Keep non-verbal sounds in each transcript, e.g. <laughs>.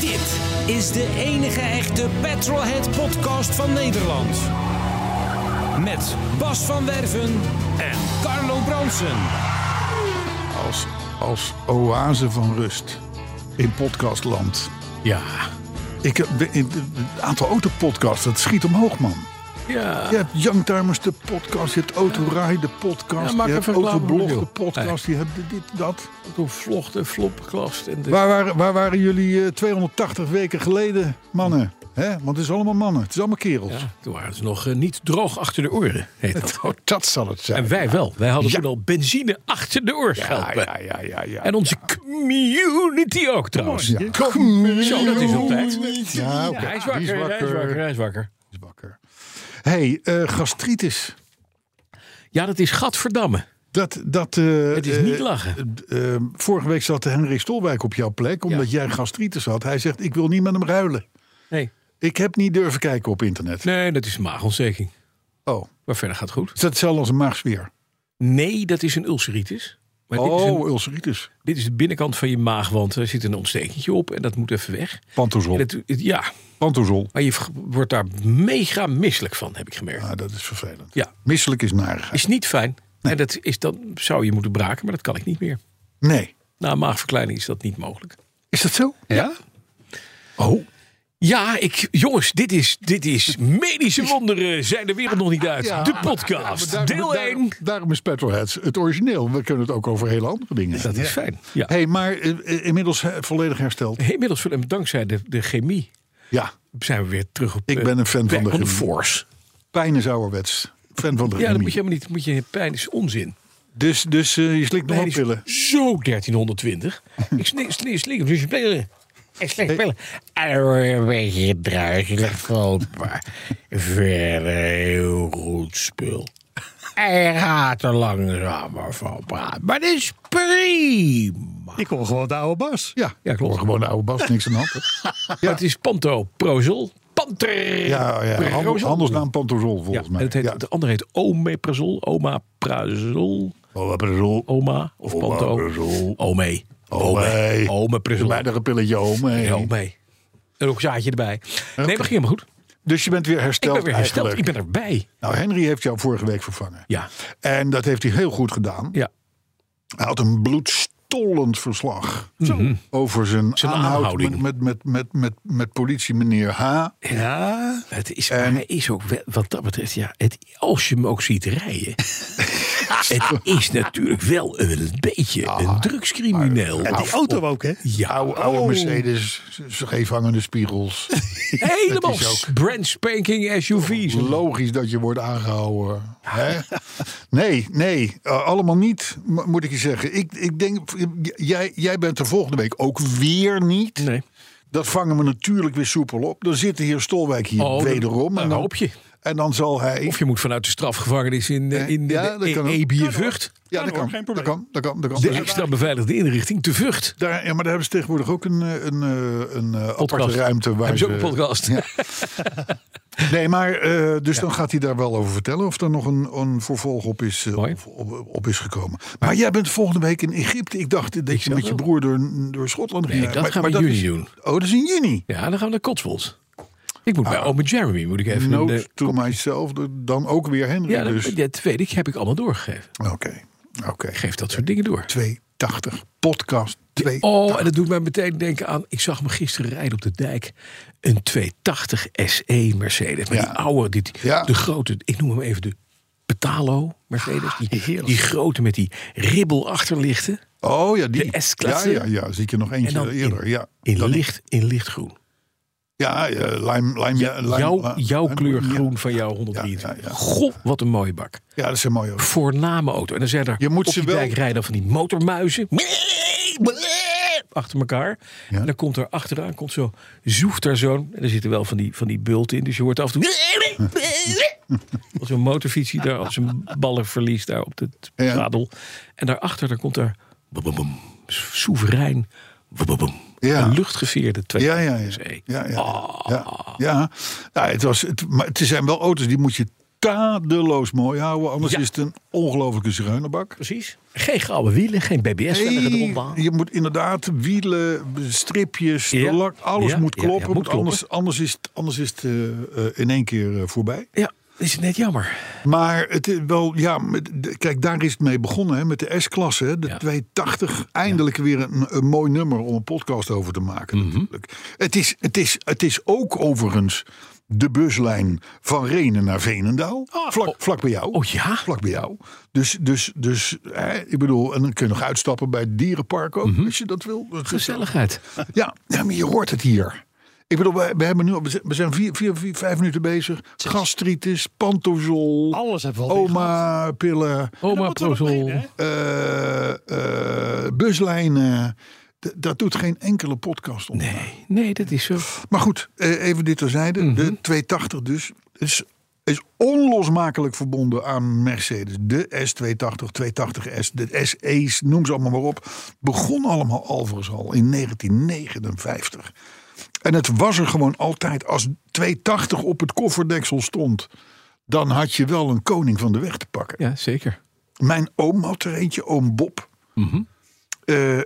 Dit is de enige echte Petrolhead podcast van Nederland. Met Bas van Werven en Carlo Bronsen. Als, als oase van rust in podcastland. Ja, Ik heb de- in- de- het aantal autopodcasts, dat schiet omhoog, man. ja. Je hebt Youngtimers de podcast, je hebt Autorij de podcast, Ja, maak je hebt even reclame Autoblog voor de Michiel. podcast, je hebt dit, dat. Toen vlocht en flopklast. En de... Waar waren, waar waren jullie eh, 280 weken geleden, mannen? Hè? Want het is allemaal mannen, het is allemaal kerels. Ja, toen waren ze nog eh, niet droog achter de oren, heet <laughs> dat. Oh, dat zal het zijn. En wij wel. Wij hadden Ja. toen al benzine achter de ja, oorschelpen. ja, ja, ja, ja. En onze community ook trouwens. ja. Zo, dat is op tijd. Ja, oké. Ja, hij Die is wakker, hij is wakker, hij is wakker. is wakker. hey, eh, gastritis. Ja, dat is gadverdamme. Dat, dat, eh, Het is niet eh, lachen. eh, eh, vorige week zat Henry Stolwijk op jouw plek, omdat jij gastritis had. Hij zegt, ik wil niet met hem ruilen. Nee, Ik heb niet durven kijken op internet. nee dat is een maagontsteking. Oh, Maar verder gaat het is goed. dat hetzelfde als een maagzweer? Nee, dat is een ulceritis. Maar dit, is Oh, een- ulceritis. dit is de binnenkant van je maagwand. Daar zit een ontstekentje op en dat moet even weg. Pantozol. En dat- het- ja, Pantozol. Maar je v- wordt daar mega misselijk van, heb ik gemerkt. Ah, dat is vervelend. Ja. Misselijk is narigheid. Is niet fijn. En dat is, dan zou je moeten braken, maar dat kan ik niet meer. Nee. Na een maagverkleining is dat niet mogelijk. Is dat zo? Ja. Oh. Ja, ik, jongens, dit is, dit is medische wonderen zijn de wereld nog niet uit. Ja. de podcast, Daarom- deel daarom- 1. Daarom is Petrolheads het origineel. We kunnen het ook over hele andere dingen Dat hebben. is fijn. Ja. hey, maar eh, eh, inmiddels eh, volledig hersteld. Inmiddels, en dankzij de, de chemie, Ja. zijn we weer terug op Ik eh, ben een fan back van de on the chemie. force. Pijn is ouderwets. Fan van de Ja, dat chemie. moet je helemaal niet. Moet je, pijn is onzin. Dus, dus eh, je slikt nog Nee, wat die is pillen. Zo 1320. ik sneeuw, sneeuw, sneeuw. Dus je spelen. Ik slecht spelen. Een beetje druiselig groot, maar verder heel goed spul. Hij gaat er langzamer van praten. Maar dat is prima. Ik hoor gewoon de oude Bas. Ja, Ja, klopt. Hoor Gewoon de oude Bas, niks aan de hand. hè? Ja. Het is Panto Prozol. Panter. Ja, ja. Handel, Prozol. handelsnaam Pantozol Ja, volgens en mij. het heet, ja. De andere heet Omeprazol. Oma Prazol. Oh, we hebben rol. Oma of Panto. Omeprazol. Ome. Ome. Omeprazol. Bij een pilletje om. hè. Ja, ook mee. Een rookzaadje erbij. Nee, maar ging helemaal goed. Dus je bent weer Ik hersteld ben weer hersteld. Ik eigenlijk. ben erbij. Nou, Henry heeft jou vorige week vervangen. Ja. En dat heeft hij heel goed gedaan. Ja. Hij had een bloedstollend verslag over Mhm. zijn, Zijn aanhoud aanhouding. Met, met, met, met, met, met politie meneer H. Ja. Het is, Ehm, maar hij is ook, wel- wat dat betreft, ja, het, als je hem ook ziet <laughs> rijden. het is natuurlijk wel een beetje Ah, een drugscrimineel. En die auto ook, hè? ja, Oude, oude Mercedes, scheef hangende spiegels. <laughs> <laughs> helemaal dat is ook- brand spanking SUV's. Logisch dat je wordt aangehouden. Hè? <laughs> Nee, nee, eh, allemaal niet, mo- moet ik je zeggen. Ik, ik denk, j- jij, jij bent er volgende week ook weer niet. Nee. Dat vangen we natuurlijk weer soepel op. Dan zit de heer Stolwijk hier Oh, dat- wederom. nou, en dan, hoop je. En dan zal hij... Of je moet vanuit de strafgevangenis in, eh, in Ja, de dat kan ook. Ebier Vught. ja, dat hoor, kan, dat geen probleem. kan, dat kan, dat kan. De Dus- extra beveiligde inrichting te Vught. daar, ja, maar daar hebben ze tegenwoordig ook een, eh, een, eh, een eh, aparte Podcast. ruimte. Waar Hebben ze ook een ze- podcast. <laughs> Nee, maar eh, dus dan gaat hij daar wel over vertellen of er nog een, een vervolg op is, eh, Mooi. op, op, op is gekomen. Maar jij bent volgende week in Egypte. Ik dacht dat je snap met je wel. broer door, door Schotland ging. Nee, dat maar- gaan maar we in juni is- doen. Oh, dat is in juni. Ja, dan gaan we naar Cotswolds. Ik Ah. moet bij Ome Jeremy, moet ik even... Note een, eh, to myself, dan ook weer Henry. ja, dus. dat, dat weet ik, heb ik allemaal doorgegeven. Oké, oké. Ik geef dat soort dingen door. 280 podcast. 2. Oh, en dat doet mij meteen denken aan... Ik zag me gisteren rijden op de dijk. Een 280 SE Mercedes. Met Ja. die oude, die, die- Ja. de grote... Ik noem hem even de Petalo Ah, Mercedes. Die, die grote met die ribbel achterlichten. Oh ja, die. De S-klasse. ja, ja, ja, zie ik je nog eentje En dan in- eerder. ja. In, Dan- licht, in lichtgroen. Ja, eh, lijm, lijm, ja, lijm, jouw lijm- jouw lijm- kleur eh, ja. groen van jouw 123. Ja, ja, ja. Goh, wat een mooie bak. Ja, dat is een mooie. auto. Voorname auto. En dan zijn er Je moet op ze die wel- dijk rijden dan van die motormuizen. Achter elkaar. Ja. En dan komt er achteraan, komt zo, zoeft er zo'n... En er zitten wel van die, van die bulten in, dus je hoort af <laughs> en toe... Als zo'n motorfiets die daar op zijn ballen verliest, daar op het Ja. zadel. En daarachter, daar komt er... Soeverein. Ja. Een luchtgeveerde twee. Ja, ja, ja. Dus, hey, ja, ja, ja. Ah. ja, ja. Nou, het, was, het, maar het zijn wel auto's die moet je tadeloos mooi houden. Anders Ja. is het een ongelofelijke zigeunerbak. Precies. Geen gouden wielen, geen BBS. velgen Nee, eronder. je moet inderdaad wielen, stripjes, de Ja. lak, alles Ja, moet ja, ja, kloppen. moet want kloppen. Anders, anders is het, anders is het eh, eh, in één keer eh, voorbij. Ja, is net jammer. Maar het is wel, ja, met de- kijk, daar is het mee begonnen hè, met de S-klasse. hè, De Ja. 280, eindelijk weer een, een mooi nummer om een podcast over te maken. Mhm. natuurlijk. Het, is, het, is, het is ook overigens de buslijn van Renen naar Veenendaal. vlak, vlak bij jou. Oh ja? Vlak bij jou. Dus, dus, dus hè, ik bedoel, en dan kun je nog uitstappen bij het dierenpark ook, Mhm. als je dat wil. Dat is- Gezelligheid. Ja, ja, maar je hoort het hier. Ik bedoel, we, we, hebben nu, al- we zijn vier, vier, vier, vijf minuten bezig. Gastritis, pantozol. Alles hebben we al weer gehad. Oma, pillen, Oma moet er nog Prozol. heen, hè? eh, eh, buslijnen. D- dat doet geen enkele podcast om. Nee, nee, dat is zo. Maar goed, eh, even dit terzijde. De 280 dus is, is onlosmakelijk verbonden aan Mercedes. De S280, 280S, de SE's, noem ze allemaal maar op. Begon allemaal Alvarez al in 1959. En het was er gewoon altijd als 280 op het kofferdeksel stond. Dan had je wel een koning van de weg te pakken. Ja, zeker. Mijn oom had er eentje, oom Bob. Eh, eh,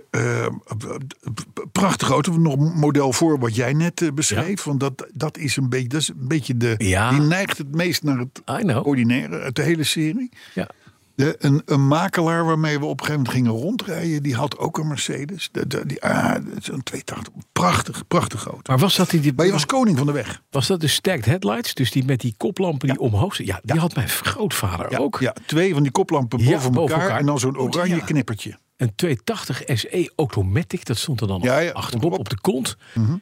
prachtige auto, nog model voor wat jij net eh, beschreef. Want dat, dat is een beetje, dat is een beetje de. Ja. Die neigt het meest naar het I know. ordinaire uit de hele serie. Ja. De, een, een makelaar waarmee we op een gegeven moment gingen rondrijden, die had ook een Mercedes. De, de- die, ah, dat is een 280. Prachtig, prachtig auto. Maar was dat, die, Maar je die, was koning van de weg. was dat de stacked headlights? Dus die met die koplampen die omhoog zitten? Ja, die had mijn grootvader Ja, ook. Ja, twee van die koplampen Ja, boven, boven elkaar, elkaar. en dan zo'n Goed, oranje ja. knippertje. Een 280 SE Automatic, dat stond er dan Ja, op- ja, Mhm. achterop klopt. op de kont.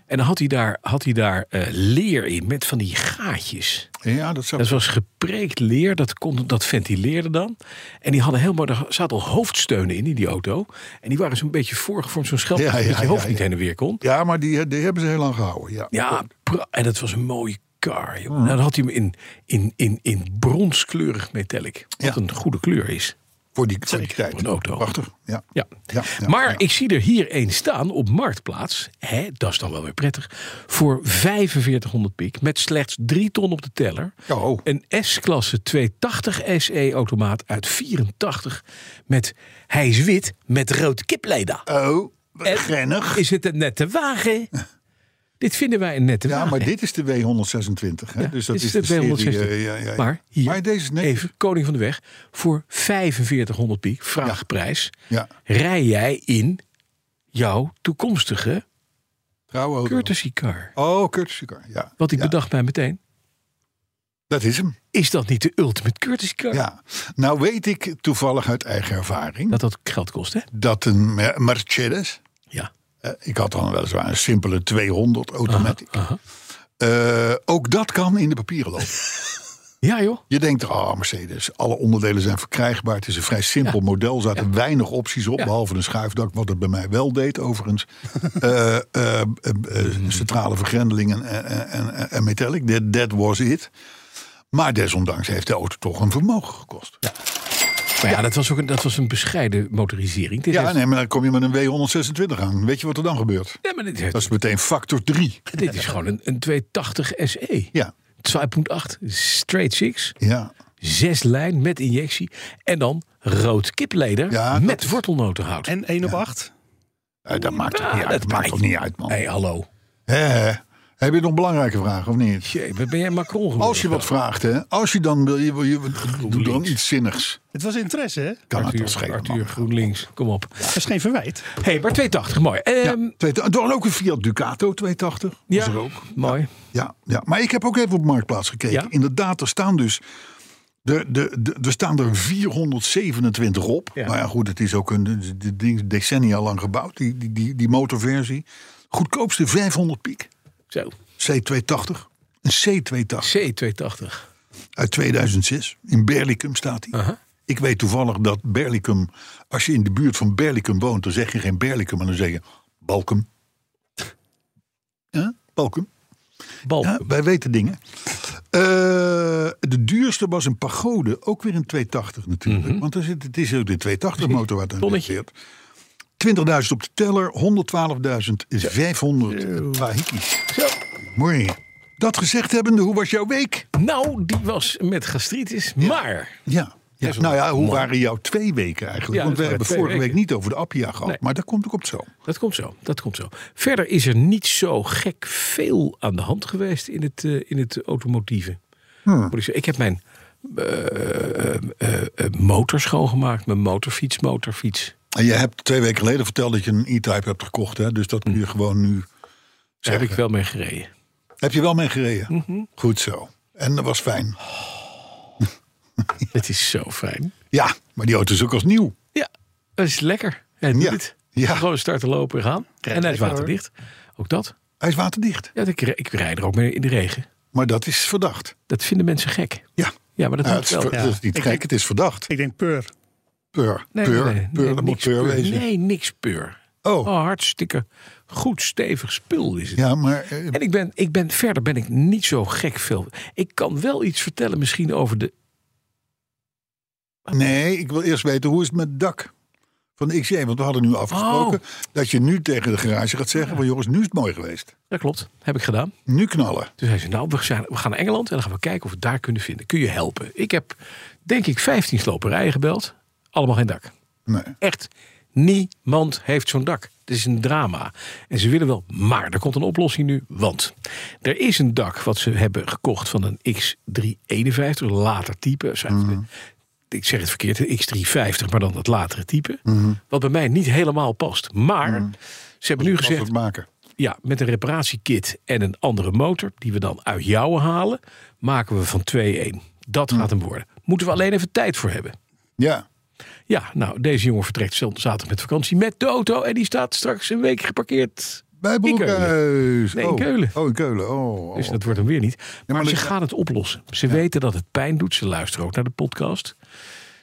En dan had hij daar, had hij daar eh, leer in met van die gaatjes. Ja, dat zou Dat was gepreekt leer, dat, kon, dat ventileerde dan. En die hadden helemaal, er zaten al hoofdsteunen in, in die auto. En die waren zo'n beetje voorgevormd, zo'n schelp, Ja, dat ja, je hoofd ja, niet ja. heen en weer kon. Ja, maar die, die hebben ze heel lang gehouden. Ja. Ja, pra- en dat was een mooie car. Hmm. Joh. Nou, dan had hij hem in, in, in, in bronskleurig metallic. Wat Ja. een goede kleur is. Voor die, voor die tijd. Voor een auto. Prachtig. Ja. Ja. Ja, ja, maar ja. ik zie er hier één staan op Marktplaats. Hè, dat is dan wel weer prettig. Voor 4500 piek. Met slechts 3 ton op de teller. Ja, oh. Een S-klasse 280 SE automaat uit 84. Met, hij is wit met rood kipleda. Oh, wat En- grennig. Is het een nette wagen? <laughs> Dit vinden wij een nette Ja, wagen. maar dit is de W126. Hè? Ja, dus dat dit is, is de, de W126. serie, eh, ja, ja, ja. Maar hier, deze is netjes. even Koning van de Weg, voor 4500 piek, vraagprijs, Ja, rij jij in jouw toekomstige trouwe auto. courtesy car. Oh, Curtis Car. Ja. Wat ik ja, bedacht mij meteen, Dat is hem. is dat niet de ultimate courtesy car? Ja. Nou weet ik toevallig uit eigen ervaring Dat dat geld kost, hè? dat een Mer- Mercedes... Ja. eh, ik had dan weliswaar een simpele 200 automatic. aha. Eh, ook dat kan in de papieren lopen. Ja, joh. Je denkt, oh Mercedes, alle onderdelen zijn verkrijgbaar. Het is een vrij simpel model. Er zaten weinig opties op, Ja. behalve een schuifdak. Wat het bij mij wel deed, <laughs> overigens. Eh, eh, eh, eh, Mm. centrale vergrendelingen en, en, en, en metallic. That, that was it. Maar desondanks heeft de auto toch een vermogen gekost. Ja, Maar ja, Dat, was ook een, dat was een bescheiden motorisering. Dit heeft- nee, maar dan kom je met een W126 aan. Weet je wat er dan gebeurt? nee, maar dit, heeft- Dat is meteen factor 3. dit is gewoon een, E. een 280 SE. Ja, 2.8, straight six. ja. zes lijn met injectie. En dan rood kipleder Ja, dat met is- wortelnotenhout. En 1 op 8. Eh, dat maakt toch Ja, niet uit, Ah, dat dat maakt maakt toch niet uit man. hey, hallo. Hè? heb je nog belangrijke vragen of niet? Jee, ben jij Macron geworden? Als je wat vraagt, hè? Als je dan wil, je, wil- je, doe dan iets zinnigs. Het was interesse, hè? Kan het wel Arthur, schelen, Arthur man. GroenLinks, kom op. Dat is geen verwijt. hey, maar 280, mooi. Ehm, Ja, twee- er was ook een Fiat Ducato 280. Was ja, er ook. mooi. Ja, ja, maar ik heb ook even op Marktplaats gekeken. Ja. Inderdaad, er staan dus... De, de, de, er staan er 427 op. Ja. Maar ja, goed, het is ook een de- de- ding decennia lang gebouwd, die, die, die, die motorversie. Goedkoopste 500 piek. Zo. C280. Een C280 C280. uit 2006. In Berlicum staat hij. Aha. Ik weet toevallig dat Berlicum, als je in de buurt van Berlicum woont, dan zeg je geen Berlicum, maar dan zeg je Balkum. Ja, Balkum. Bal. Ja, wij weten dingen. Eh, de duurste was een pagode, ook weer een 280 natuurlijk. Want er zit, het is ook de 280 motor wat aan Mhm. Tonnetje. zit. 20.000 op de teller, 112.500 wahikis. Mooi. Dat gezegd hebbende, hoe was jouw week? Nou, die was met gastritis, maar... Ja. ja. is wel Nou ja, hoe mooi. waren jouw twee weken eigenlijk? Ja, Want we dat waren hebben twee vorige week weken. niet over de Appia gehad, Nee. maar daar komt ook op zo. Dat komt zo, dat komt zo. Verder is er niet zo gek veel aan de hand geweest in het, eh, in het automotieve. Hmm. Moet ik, zeggen, ik heb mijn eh, eh, eh, motor schoongemaakt, mijn motorfiets, motorfiets. En je hebt twee weken geleden verteld dat je een E-Type hebt gekocht, hè? dus dat kun Mm. je gewoon nu Daar heb ik wel mee gereden. Heb je wel mee gereden? Mhm. Goed zo. En dat was fijn. Het is zo fijn. Ja, maar die auto is ook als nieuw. Ja, dat is lekker. Het doet Ja, het. ja. Gewoon starten, lopen en gaan. en hij is lekker, waterdicht. Ook dat. Hij is waterdicht. Ja, ik, ik rijd er ook mee in de regen. Maar dat is verdacht. Dat vinden mensen gek. Ja. Ja, maar dat Nou, moet het is, wel. ver- Ja. dat is niet Ik gek, denk- het is verdacht. Ik denk peur. Peur, Nee, peur, nee, nee, peur, dat moet niks peur peur. wezen. Nee, niks peur. Oh. hartstikke goed stevig spul is het. Ja, maar eh, En ik ben, ik ben, verder ben ik niet zo gek veel. Ik kan wel iets vertellen misschien over de... nee, ik wil eerst weten hoe is het met het dak van de XJ? Want we hadden nu Oh. afgesproken dat je nu tegen de garage gaat zeggen: van jongens, nu is het mooi geweest. Dat klopt, heb ik gedaan. Nu knallen. Toen zei ze, nou, we gaan, we gaan naar Engeland en dan gaan we kijken of we het daar kunnen vinden. Kun je helpen? Ik heb, denk ik, 15 sloperijen gebeld. Allemaal geen dak. Nee. Echt, niemand heeft zo'n dak. Het is een drama. En ze willen wel, maar er komt een oplossing nu. Want er is een dak wat ze hebben gekocht van een X351, later type. Zijn de- Ik zeg het verkeerd, de X350, maar dan dat latere type. Wat bij mij niet helemaal past. Maar ze hebben nu Als we gezegd, het maken. ja, met een reparatiekit en een andere motor, die we dan uit jou halen, maken we van 2-1. Dat gaat hem worden. Moeten we alleen even tijd voor hebben. Ja. Ja, nou, deze jongen vertrekt z- zaterdag met vakantie met de auto en die staat straks een week geparkeerd. Bij Broekhuis. Nee, in oh. Keulen. Oh, in Keulen. Oh, oh. Dus dat wordt hem weer niet. Maar, maar ze dat- gaan het oplossen. Ze weten dat het pijn doet. Ze luisteren ook naar de podcast.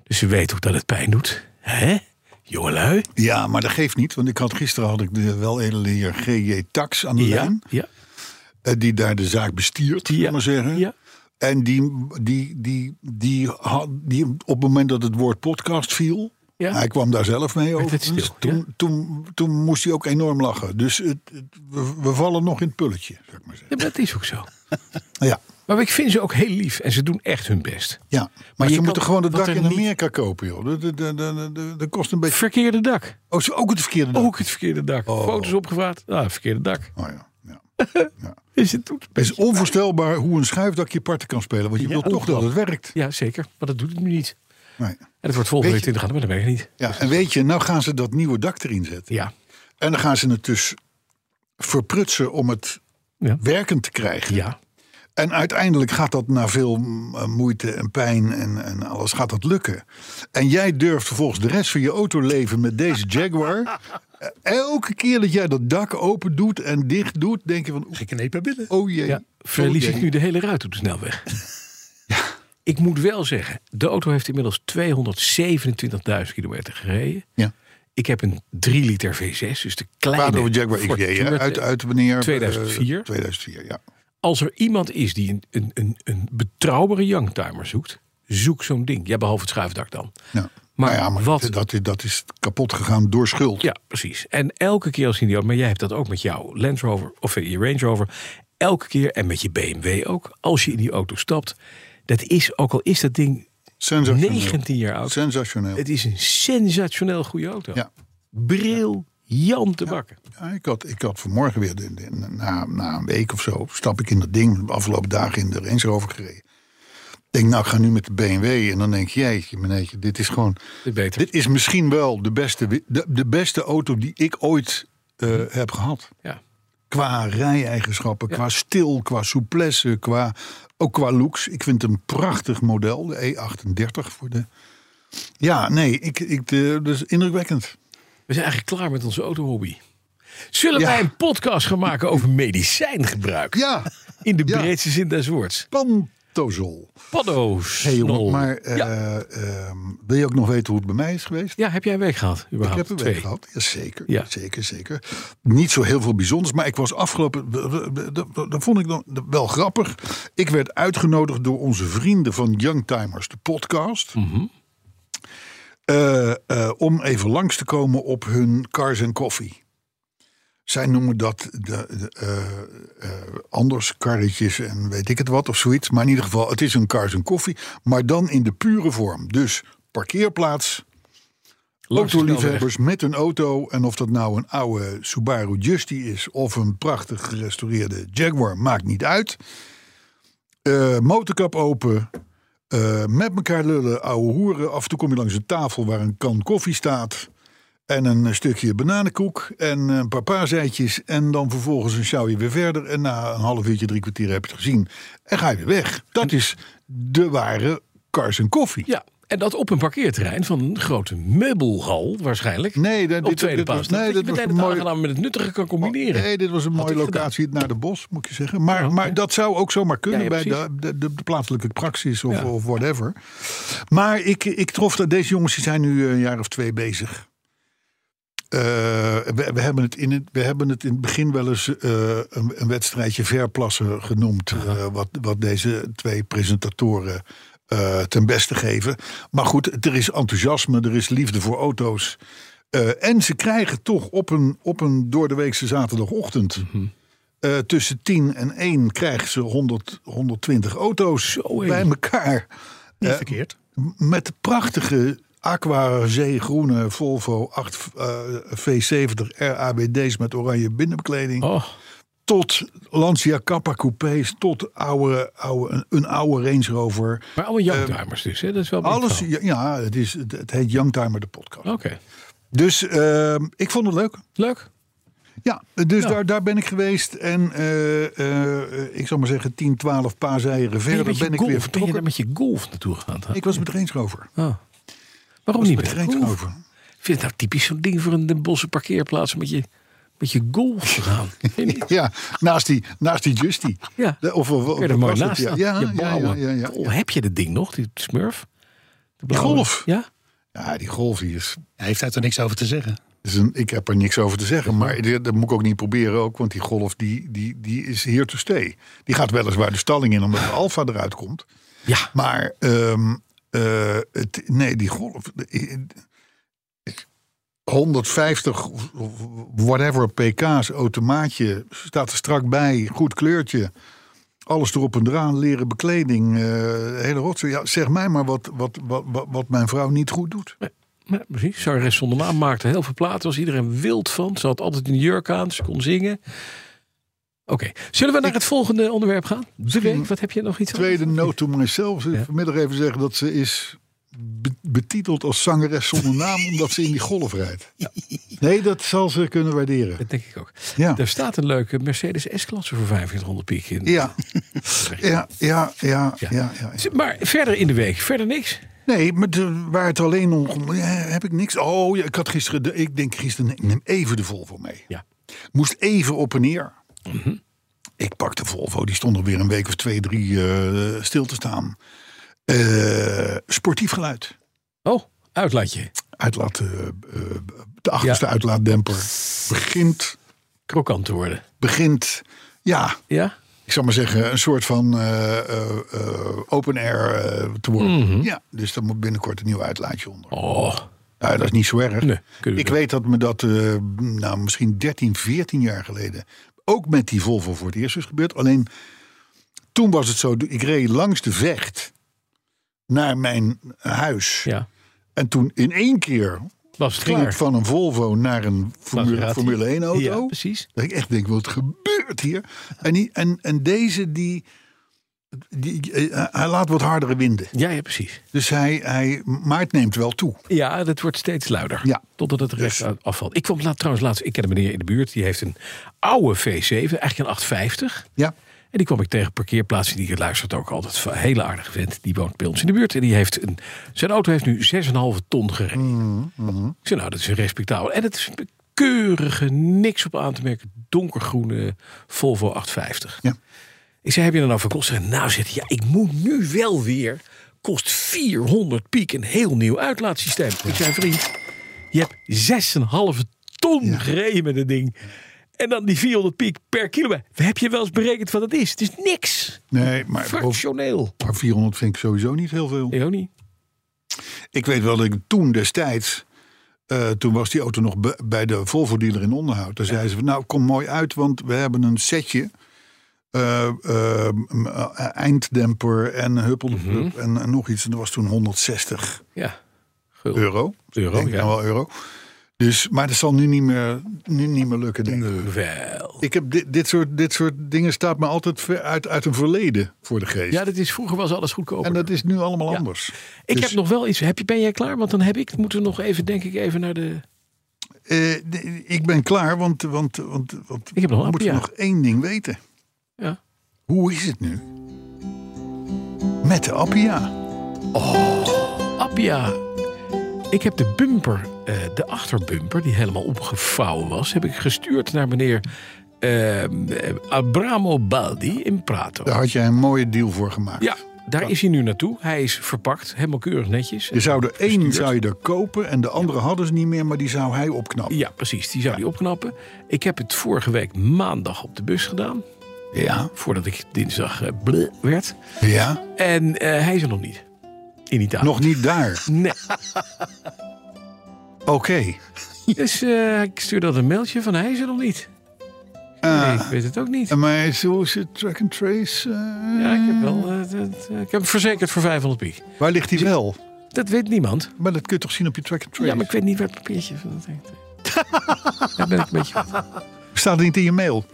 Dus ze weten ook dat het pijn doet. Hè? Jongelui? Ja, maar dat geeft niet. Want ik had, gisteren had ik de weledele heer G.J. Tax aan de lijn. ja, eh, die daar de zaak bestiert, zullen we Ja. maar zeggen. Ja. En die, die, die, die, had, die op het moment dat het woord podcast viel. Ja. Hij kwam daar zelf mee het over. stil, toen, ja. toen, toen moest hij ook enorm lachen. Dus het, het- we, we vallen nog in het pulletje, zou ik maar zeggen. Ja, dat is ook zo. Ja, Maar ik vind ze ook heel lief en ze doen echt hun best. ja. maar, Maar je ze moeten kan- gewoon het wat dak er in niet- Amerika kopen, joh. Dat- Dat, dat, dat, dat- dat kost een beetje. Verkeerde dak. Oh, ze- ook het verkeerde dak. Ook het verkeerde dak. Foto's opgevraagd. Ah, verkeerde dak. Oh, ja. Ja. Is het doet Het is onvoorstelbaar hoe een schuifdakje parten kan spelen. Want je wil toch dat het werkt. Ja, zeker. Maar dat doet het nu niet. Nee. En het wordt volgende Weet week 20 graden, maar dat weet ik niet. Ja, en weet je, nou gaan ze dat nieuwe dak erin zetten. Ja. En dan gaan ze het dus verprutsen om het Ja. werkend te krijgen. Ja. En uiteindelijk gaat dat na veel mm, eh, moeite en pijn en, en alles gaat dat lukken. En jij durft vervolgens de rest van je autoleven met deze <laughs> Jaguar. Eh, Elke keer dat jij dat dak open doet en dicht doet, denk je van oeh, Geknepen binnen. oh jee. Ja, verlies oh ik jee. nu de hele ruit op de <laughs> snelweg. Ik moet wel zeggen, de auto heeft inmiddels 227.000 kilometer gereden. Ja. Ik heb een 3 liter V6, dus de Praat kleine over Jaguar XJ, Fortuner. hè? uit, uit wanneer? 2004. Eh, 2004, ja. Als er iemand is die een, een, een, een betrouwbare youngtimer zoekt, zoek zo'n ding. Ja, behalve het schuifdak dan. ja. Maar Nou ja, maar wat- Dat, is- dat is kapot gegaan door schuld. Ja, precies. En elke keer als je die auto, maar jij hebt dat ook met jouw Land Rover of eh, je Range Rover. Elke keer en met je BMW ook. Als je in die auto stapt, dat is ook al is dat ding Sensationeel. 19 jaar oud. Sensationeel. Het is een sensationeel goede auto. Ja. Briljant te bakken. Ja, ik, had, ik had vanmorgen weer, de- de- na, na een week of zo, stap ik in dat ding. De afgelopen dagen in de Range Rover gereden. Ik denk, nou, ik ga nu met de BMW. En dan denk je, jeetje, meneertje, dit is gewoon... De beter. Dit is misschien wel de beste, wi- de, de beste auto die ik ooit eh, heb gehad. Ja. Qua rij-eigenschappen, qua stil, qua souplesse, qua, ook qua looks. Ik vind het een prachtig model, de E38 voor de... Ja, nee, ik, ik, de, dat is indrukwekkend. We zijn eigenlijk klaar met onze autohobby. Zullen Ja. wij een podcast gaan maken over medicijngebruik? Ja, <laughs> In de Ja. breedste zin des woords. pantozol. Paddo's. Hey, jongen, maar ja. eh, ehm, wil je ook nog weten hoe het bij mij is geweest? Ja, heb jij een week gehad? Ik Überhaupt? heb een Twee. week gehad. Ja, zeker, Ja. zeker, zeker. Niet zo heel veel bijzonders, maar ik was afgelopen. dat- Dat dat vond ik dan wel grappig. Ik werd uitgenodigd door onze vrienden van Youngtimers, de podcast. eh, eh, om even langs te komen op hun Cars and Coffee. Zij noemen dat de, de, eh, eh, anders karretjes en weet ik het wat of zoiets. Maar in ieder geval, het is een Cars and Coffee, maar dan in de pure vorm. Dus parkeerplaats, Langs de snelweg. Autoliefhebbers met een auto. En of dat nou een oude Subaru Justy is of een prachtig gerestaureerde Jaguar, maakt niet uit. Eh, motorkap open. eh, met elkaar lullen, ouwe hoeren. Af en toe kom je langs een tafel waar een kan koffie staat. En een stukje bananenkoek en een paar paaseitjes. En dan vervolgens een sjouwje weer verder. En na een half uurtje, drie kwartier heb je het gezien. En ga je weer weg. Dat is de ware Cars en Koffie. Ja, en dat op een parkeerterrein van een grote meubelhal waarschijnlijk. Nee, dat- op dit- tweede dit was- paas. nee, dat dit je was meteen een het mooi- aangenaam met het nuttige kan combineren. Nee, dit was een mooie ik gedaan. locatie naar de bos, moet ik je zeggen. Maar, Ja, maar oké. dat zou ook zomaar kunnen Ja, ja, bij de, precies. de, de, de plaatselijke praxis of, Ja. of whatever. Maar ik, ik trof dat deze jongens die zijn nu eh, een jaar of twee bezig. Eh, we, we, hebben het in het, we hebben het in het begin wel eens eh, een, een wedstrijdje verplassen genoemd. eh, wat, wat deze twee presentatoren eh, ten beste geven. Maar goed, er is enthousiasme, er is liefde voor auto's. Eh, en ze krijgen toch op een, op een doordeweekse zaterdagochtend. eh, tussen 10 en 1 krijgen ze 100, 120 auto's hé. bij elkaar. Niet Eh, verkeerd. met de prachtige aqua zeegroene Volvo 8 eh, V70 RABD's met oranje binnenbekleding. Oh, Tot Lancia Kappa coupés, tot oude, oude, een, een oude Range Rover. maar allemaal youngtimers dus, hè? Dat is wel een ehm, Alles, beetje ja, ja, het, is, het, het heet Youngtimer de podcast. wel. Oké. Dus ehm, ik vond het leuk. Leuk. Ja, dus Ja. Daar, daar ben ik geweest. En eh, eh, eh, ik zal maar zeggen 10, 12 paaseieren Ben je, verder met je ben ik weer golf, ben je daar vertrokken. met je golf naartoe gegaan? Ik was met Range Rover. Oh. Waarom Was niet met met Range golf? Rover. Ik vind het nou typisch zo'n ding voor een Den Bosse parkeerplaats... om met je, met je golf te gaan. Vind je niet? <laughs> Ja, naast die, naast die Justy. Ja. De- Of, of, Kun of je er mooi was het? naast ja. staan? Ja, je ja, blauwe. ja, ja, ja. Oh, heb je dat ding nog, die smurf? De blauwe- golf? Ja? Ja, die golf hier is, Hij heeft daar toch niks over te zeggen. is een, ik heb er niks over te zeggen. Maar dit- dat moet ik ook niet proberen ook. Want die golf die, die, die is here to stay. Die gaat weliswaar de stalling in omdat de Alfa eruit komt. Ja. Maar ehm, eh, het, nee, die golf. eh, ik- 150 of- of whatever pk's automaatje staat er strak bij, goed kleurtje. Alles erop en eraan, leren bekleding, eh, de hele rotzooi. Ja, zeg mij maar wat, wat, wat, wat, wat mijn vrouw niet goed doet. Ja, precies. Zangeres zonder naam maakte heel veel platen. Was iedereen wild van. Ze had altijd een jurk aan. Ze kon zingen. Oké. Zullen we naar het volgende onderwerp gaan? De week. Wat heb je nog iets aan? Tweede note to myself. Ze Vanmiddag even zeggen dat ze is be- betiteld als zangeres zonder naam... omdat ze in die golf rijdt. Nee, dat zal ze kunnen waarderen. Dat denk ik ook. Ja. Er staat een leuke Mercedes S-klasse voor 2500 piek in. Ja. Ja, ja, ja, ja, ja. Maar verder in de week. Verder niks. Nee, maar de, waar het alleen om... ja, heb ik niks. Oh, ja, ik had gisteren... De, ik denk gisteren, nee, ik neem even de Volvo mee. Ja. Moest even op en neer. Ik pak de Volvo. Die stond er weer een week of twee, drie eh, stil te staan. Eh, sportief geluid. Oh, uitlaatje. Uitlaat, eh, eh, de achterste uitlaatdemper. Begint, Krokant te worden. begint... Ja, Ja? ik zal maar zeggen, een soort van eh, eh, eh, open air eh, te worden. Mhm. Ja, dus daar moet binnenkort een nieuw uitlaatje onder. Oh. Nou, dat is niet zo erg. Nee, kunnen we ik doen. weet dat me dat eh, nou, misschien 13, 14 jaar geleden ook met die Volvo voor het eerst is gebeurd. Alleen toen was het zo, ik reed langs de vecht naar mijn huis. Ja. En toen in één keer Was het ging klaar. het van een Volvo naar een Formule, Maserati. Formule 1 auto. Ja, precies. Dat ik echt denk, wat gebeurt hier? En, die, en, en deze, die, die, eh, hij laat wat hardere winden. Ja, ja, precies. Dus hij, hij, maar het neemt wel toe. Ja, dat wordt steeds luider. Ja. Dus- Totdat het recht uit- afvalt. Ik kwam laat, trouwens laatst, ik ken een meneer in de buurt, die heeft een oude V7, eigenlijk een 850. Ja, En die kwam ik tegen op parkeerplaatsen. Die luistert ook altijd. Een hele aardige vent. Die woont bij ons in de buurt. En die heeft een, zijn auto heeft nu 6,5 ton gereden. Ik zei, nou, dat is respectabel. En het is keurige, niks op aan te merken, donkergroene Volvo 850. Ja. Ik zei, heb je er nou voor kost? Hij zei, Nou, zegt hij, ja, ik moet nu wel weer. Kost 400 piek een heel nieuw uitlaatsysteem. Ik zei, vriend, je hebt 6,5 ton gereden met het ding. En dan die 400 piek per kilometer. Heb je wel eens berekend wat dat is? Het is niks. Nee, maar boven- Fractioneel. maar 400 vind ik sowieso niet heel veel. Ik ook niet. Ik weet wel dat ik toen destijds, eh, toen was die auto nog be- bij de Volvo dealer in onderhoud. Daar zeiden ze, van, nou kom mooi uit, want we hebben een setje. eh, eh, m- eh, einddemper en huppeldepup en, en nog iets. En dat was toen 160 Ja. Gul. euro. Euro, Denk ik ja. nou wel euro. Dus, maar dat zal nu niet meer, nu niet meer lukken, denk ik. Wel. Ik heb dit, dit, soort, dit soort dingen staat me altijd ver uit, uit een verleden voor de geest. Ja, dat is, vroeger was alles goedkoper. en dat is nu allemaal Ja. anders. ik dus- heb nog wel iets. Heb je, ben jij klaar? Want dan heb ik. Moeten we nog even, denk ik, even naar de. Eh, d- ik ben klaar, want, want, want, want Ik heb nog we een moeten appia. nog één ding weten. Ja. Hoe is het nu? Met de Appia. Appia. Ik heb de bumper, eh, de achterbumper, die helemaal opgevouwen was, heb ik gestuurd naar meneer eh, Abramo Baldi in Prato. Daar had jij een mooie deal voor gemaakt. Ja, daar is hij nu naartoe. Hij is verpakt, helemaal keurig netjes. Je zou er één zou je er kopen en de andere hadden ze niet meer, maar die zou hij opknappen. Ja, precies. Die zou die opknappen. Ik heb het vorige week maandag op de bus gedaan. Ja. Voordat ik dinsdag eh, bleh werd. Ja. En eh, hij is er nog niet. In Italië. Nog niet daar. Nee. Oké. <laughs> Dus eh, ik stuur dat een mailtje van hij is er nog niet. Ah. Nee, ik weet het ook niet. Eh, Maar zo is het track and trace. eh, Ja, ik heb wel. eh, dat, eh, ik heb hem verzekerd voor 500 piek. Waar ligt hij wel? Dat weet niemand. Maar dat kun je toch zien op je track and trace? Ja, maar ik weet niet waar het papiertje van <laughs> dat heet. Daar ben ik een beetje. Staat het niet in je mail?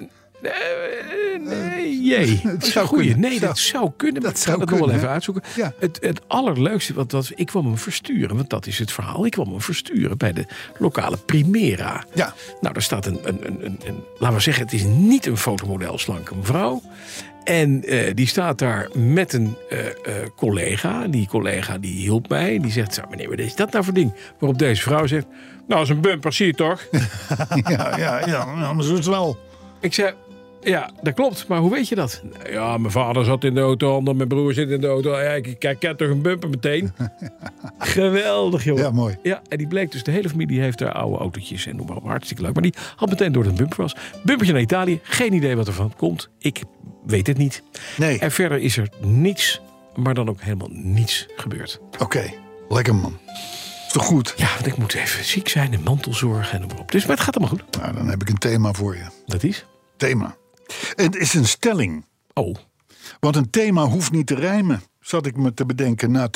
Nee, eh, nee, jee. <laughs> het Dat is zou een goeie. kunnen. Nee, Zou- dat zou kunnen. Maar dat ik ga zou dat nog wel kunnen, even hè? uitzoeken. Ja. Het, het allerleukste, want dat, ik kwam hem versturen. Want dat is het verhaal. Ik kwam hem versturen bij de lokale Primera. Ja. Nou, daar staat een, een, een, een, een- laten we zeggen, het is niet een fotomodel slanke mevrouw. En eh, die staat daar met een eh, eh, collega. Die collega die hielp mij. Die zegt, "Zo, meneer, wat is dat nou voor ding? Waarop deze vrouw zegt, nou, dat is een bumper, zie je <laughs> toch? Ja, ja, ja, anders is het wel. Ik zei, ja, dat klopt, maar hoe weet je dat? "Nou Ja, mijn vader zat in de auto, ander, mijn broer zit in de auto. Ja, ik, ik herken toch een bumper meteen. <laughs> Geweldig, jongen. Ja, mooi. Ja, en die bleek dus, de hele familie heeft daar oude autootjes en noem maar op, hartstikke leuk. Maar die had meteen door dat het een bumper was. Bumpertje naar Italië, geen idee wat er van komt. Ik weet het niet. Nee, En verder is er niets, maar dan ook helemaal niets gebeurd. oké. Lekker man. Is toch goed? Ja, want ik moet even ziek zijn en mantelzorg en noem maar op. Dus, maar het gaat allemaal goed. Nou, dan heb ik een thema voor je. Dat is? Thema. Het is een stelling. Oh, Want een thema hoeft niet te rijmen. Zat ik me te bedenken na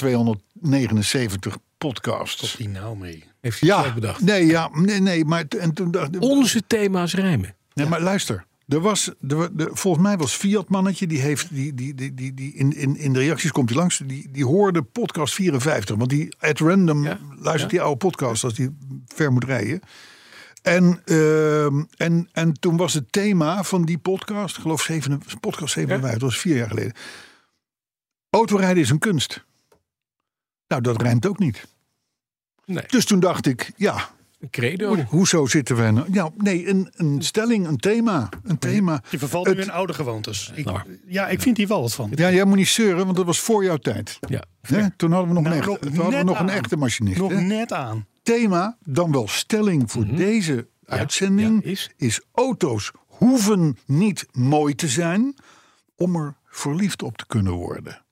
279 podcasts. Die nou mee. heeft hij het Ja, zelf bedacht. nee, ja, nee, nee. Maar, t- en toen dacht, Onze thema's rijmen. Nee, maar luister. Er was, er, wa- de- volgens mij was Fiat mannetje, die heeft, die, die, die, die, die- in, in, in de reacties komt hij langs, die, die hoorde podcast 54. Want die at random Ja, luistert ja. die oude podcast als die ver moet rijden. En, ehm, en, en toen was het thema van die podcast, ik geloof 7, podcast 57, dat was vier jaar geleden. Autorijden is een kunst. Nou, dat rijmt ook niet. Nee, Dus toen dacht ik, ja, een credo. Oh, hoezo zitten we... Nou, ja, nee, een, een stelling, een thema, een thema. Je vervalt nu in oude gewoontes. Ik, Nou. ja, ik vind hier wel wat van. Ja, jij moet niet zeuren, want dat was voor jouw tijd. Ja. Hè? Toen hadden we nog, Nou, een, echte, nog toen hadden we net nog een aan. echte machinist. Nog hè? net aan. Thema, dan wel stelling voor deze uitzending, Mhm. ja, is? is... auto's hoeven niet mooi te zijn om er verliefd op te kunnen worden.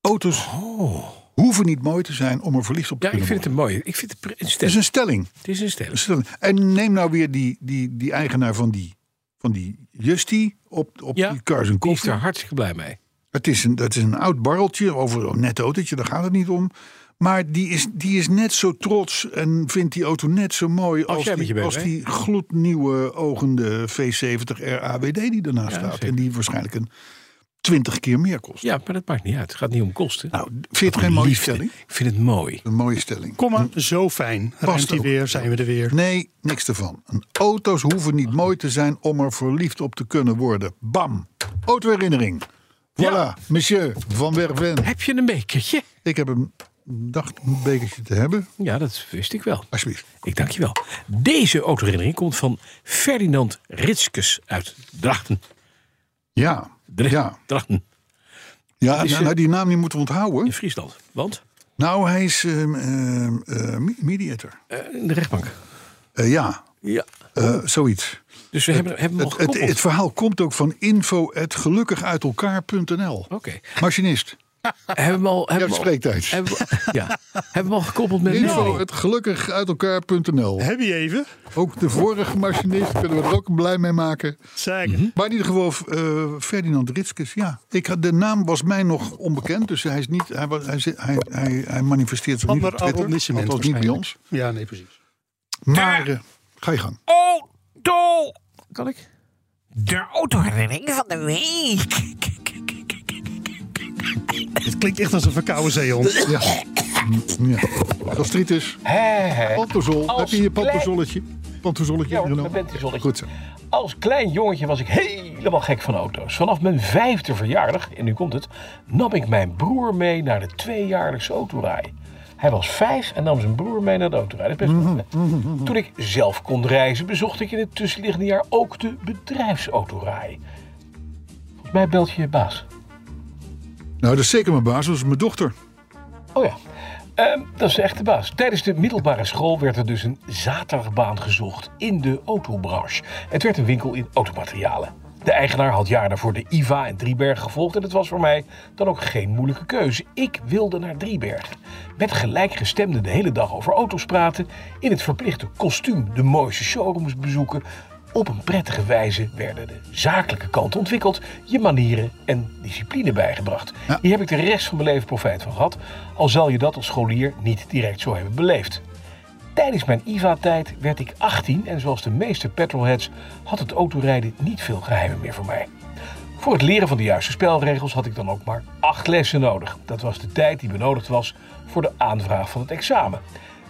Auto's Oh, hoeven niet mooi te zijn om er verliefd op te Oh. Ja, ik kunnen vind het worden. een mooie. Ik vind het pre- een Het is stelling. een stelling. Het is een stelling. Stel- En neem nou weer die, die, die eigenaar van die, van die Justy op, op Ja, die Cars en Die is Coffee. daar hartstikke blij mee. Het is een, dat is een oud barreltje, over een net autootje, daar gaat het niet om. Maar die is, die is net zo trots en vindt die auto net zo mooi Als als, jij met je die, bent, als Oh, hè? die gloednieuwe ogende V70 RAWD die ernaast staat. zeker. En die waarschijnlijk een 20 keer meer kost. Ja, maar dat maakt niet uit. Het gaat niet om kosten. Nou, vind je het geen mooie Liefde. stelling? Ik vind het mooi. Een mooie stelling. Kom maar, zo fijn. Ruimt Mm. Past hij ook. weer, zijn we er weer. Nee, niks ervan. Een auto's hoeven niet mooi te zijn om er verliefd op te kunnen worden. Bam. Autoherinnering. Voilà, Ja. monsieur Van Werven. Heb je een bekertje? Ik heb hem dacht een bekertje te hebben. Ja, dat wist ik wel. Alsjeblieft. Ik dank je wel. Deze autoherinnering komt van Ferdinand Ritskes uit Drachten. Ja. Dre- Ja. Drachten Ja, is, eh, nou, nou, die naam die moeten we in onthouden. Friesland. Want? Nou, hij is ehm, ehm, eh, me- mediator. Eh, in de rechtbank. Eh, ja, Ja. eh, zoiets. Dus we hebben, hebben hem al Het, het, gekoppeld. het verhaal komt ook van info.gelukkigeitelkaar.nl. Oké. Hebben Machinist. we hem al... Ja, Hebben we al- spreektijd. Hebben we, ja. Hebben we hem al gekoppeld met Info Mary? het gelukkig uit elkaar.nl. Heb je even? Ook de vorige machinist kunnen we er ook blij mee maken. Zeg. Maar in ieder geval eh, Ferdinand Ritskes, ja. Ik, had- de naam was mij nog onbekend, dus hij, is niet, hij, was- hij, zit- hij, hij, hij manifesteert zich niet op Ander Twitter. arrondissement Althans niet bij ons. waarschijnlijk. Ja, nee, precies. Maar eh, ga je gang. Auto! Kan ik? De autoherinnering van de week. Het klinkt echt als een verkouden zeehond. Ja. ja. Gastritis, pantozol. Heb je je pantozolletje? Pantozolletje Ja hoor, ingenomen? mijn pantozolletje. Goed zo. Nou, Als klein jongetje was ik helemaal gek van auto's. Vanaf mijn vijfde verjaardag, en nu komt het, nam ik mijn broer mee naar de tweejaarlijkse autorij. Hij was vijf en nam zijn broer mee naar de autorij. Dat is best wel wat, hè? Toen ik zelf kon reizen, bezocht ik in het tussenliggende jaar ook de bedrijfsautorij. Volgens mij belt je je baas. Nou, dat is zeker mijn baas, dat is mijn dochter. Oh ja, Ehm, dat is de echte baas. Tijdens de middelbare school werd er dus een zaterdagbaan gezocht in de autobranche. Het werd een winkel in automaterialen. De eigenaar had jaren daarvoor de IVA en Drieberg gevolgd en het was voor mij dan ook geen moeilijke keuze. Ik wilde naar Driebergen. Met gelijkgestemden de hele dag over auto's praten, in het verplichte kostuum de mooiste showrooms bezoeken. Op een prettige wijze werden de zakelijke kant ontwikkeld, je manieren en discipline bijgebracht. Hier heb ik de rest van mijn leven profijt van gehad, al zal je dat als scholier niet direct zo hebben beleefd. Tijdens mijn IVA-tijd werd ik 18 en zoals de meeste petrolheads had het autorijden niet veel geheimen meer voor mij. Voor het leren van de juiste spelregels had ik dan ook maar acht lessen nodig. Dat was de tijd die benodigd was voor de aanvraag van het examen.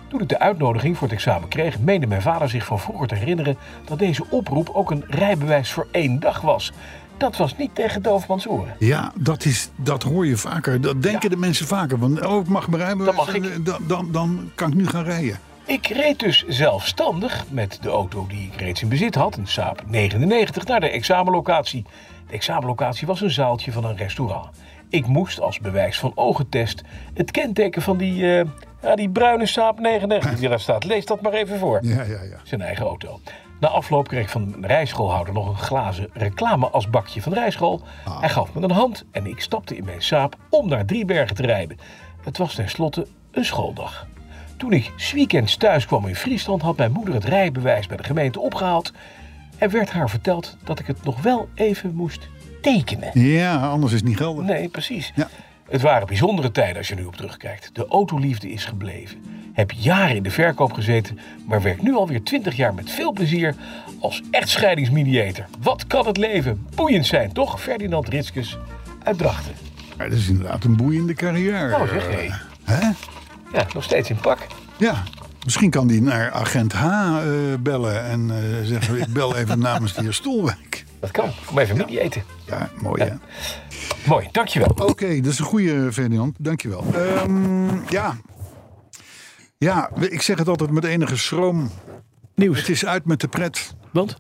Toen ik de uitnodiging voor het examen kreeg, meende mijn vader zich van vroeger te herinneren dat deze oproep ook een rijbewijs voor één dag was. Dat was niet tegen doofmans oren. Ja, dat, is, dat hoor je vaker. Dat denken Ja. de mensen vaker. Want, oh, ik mag mijn rijbewijs. Dat mag ik. en, eh, Dan, dan, dan kan ik nu gaan rijden. Ik reed dus zelfstandig met de auto die ik reeds in bezit had, een Saab 99, naar de examenlocatie. De examenlocatie was een zaaltje van een restaurant. Ik moest als bewijs van ogentest het kenteken van die, eh, ja, die bruine Saab 99 die daar staat. Lees dat maar even voor Ja, ja, ja. zijn eigen auto. Na afloop kreeg ik van mijn rijschoolhouder nog een glazen reclameasbakje van de rijschool. Hij gaf me een hand en ik stapte in mijn saap om naar Driebergen te rijden. Het was tenslotte een schooldag. Toen ik 's weekends thuis kwam in Friesland had mijn moeder het rijbewijs bij de gemeente opgehaald. En werd haar verteld dat ik het nog wel even moest tekenen. Ja, anders is het niet geldig. Nee, precies. Ja. Het waren bijzondere tijden als je nu op terugkijkt. De autoliefde is gebleven. Heb jaren in de verkoop gezeten, maar werk nu alweer 20 jaar met veel plezier als echtscheidingsmediator. Wat kan het leven boeiend zijn, toch? Ferdinand Ritskes uit Drachten. Maar dat is inderdaad een boeiende carrière. Nou zeg, hé. Eh, Hè? Ja, nog steeds in pak. Ja. Misschien kan die naar agent H eh, bellen en eh, zeggen: <laughs> Ik bel even namens de heer Stolwijk. Dat kan. Kom even mediaten. Ja, mooi hè. Mooi, dankjewel. Oké, dat is een goede, Ferdinand. Dankjewel. Ehm ja. Ja, ik zeg het altijd met enige schroom. Het Nieuws. is uit met de pret. Want?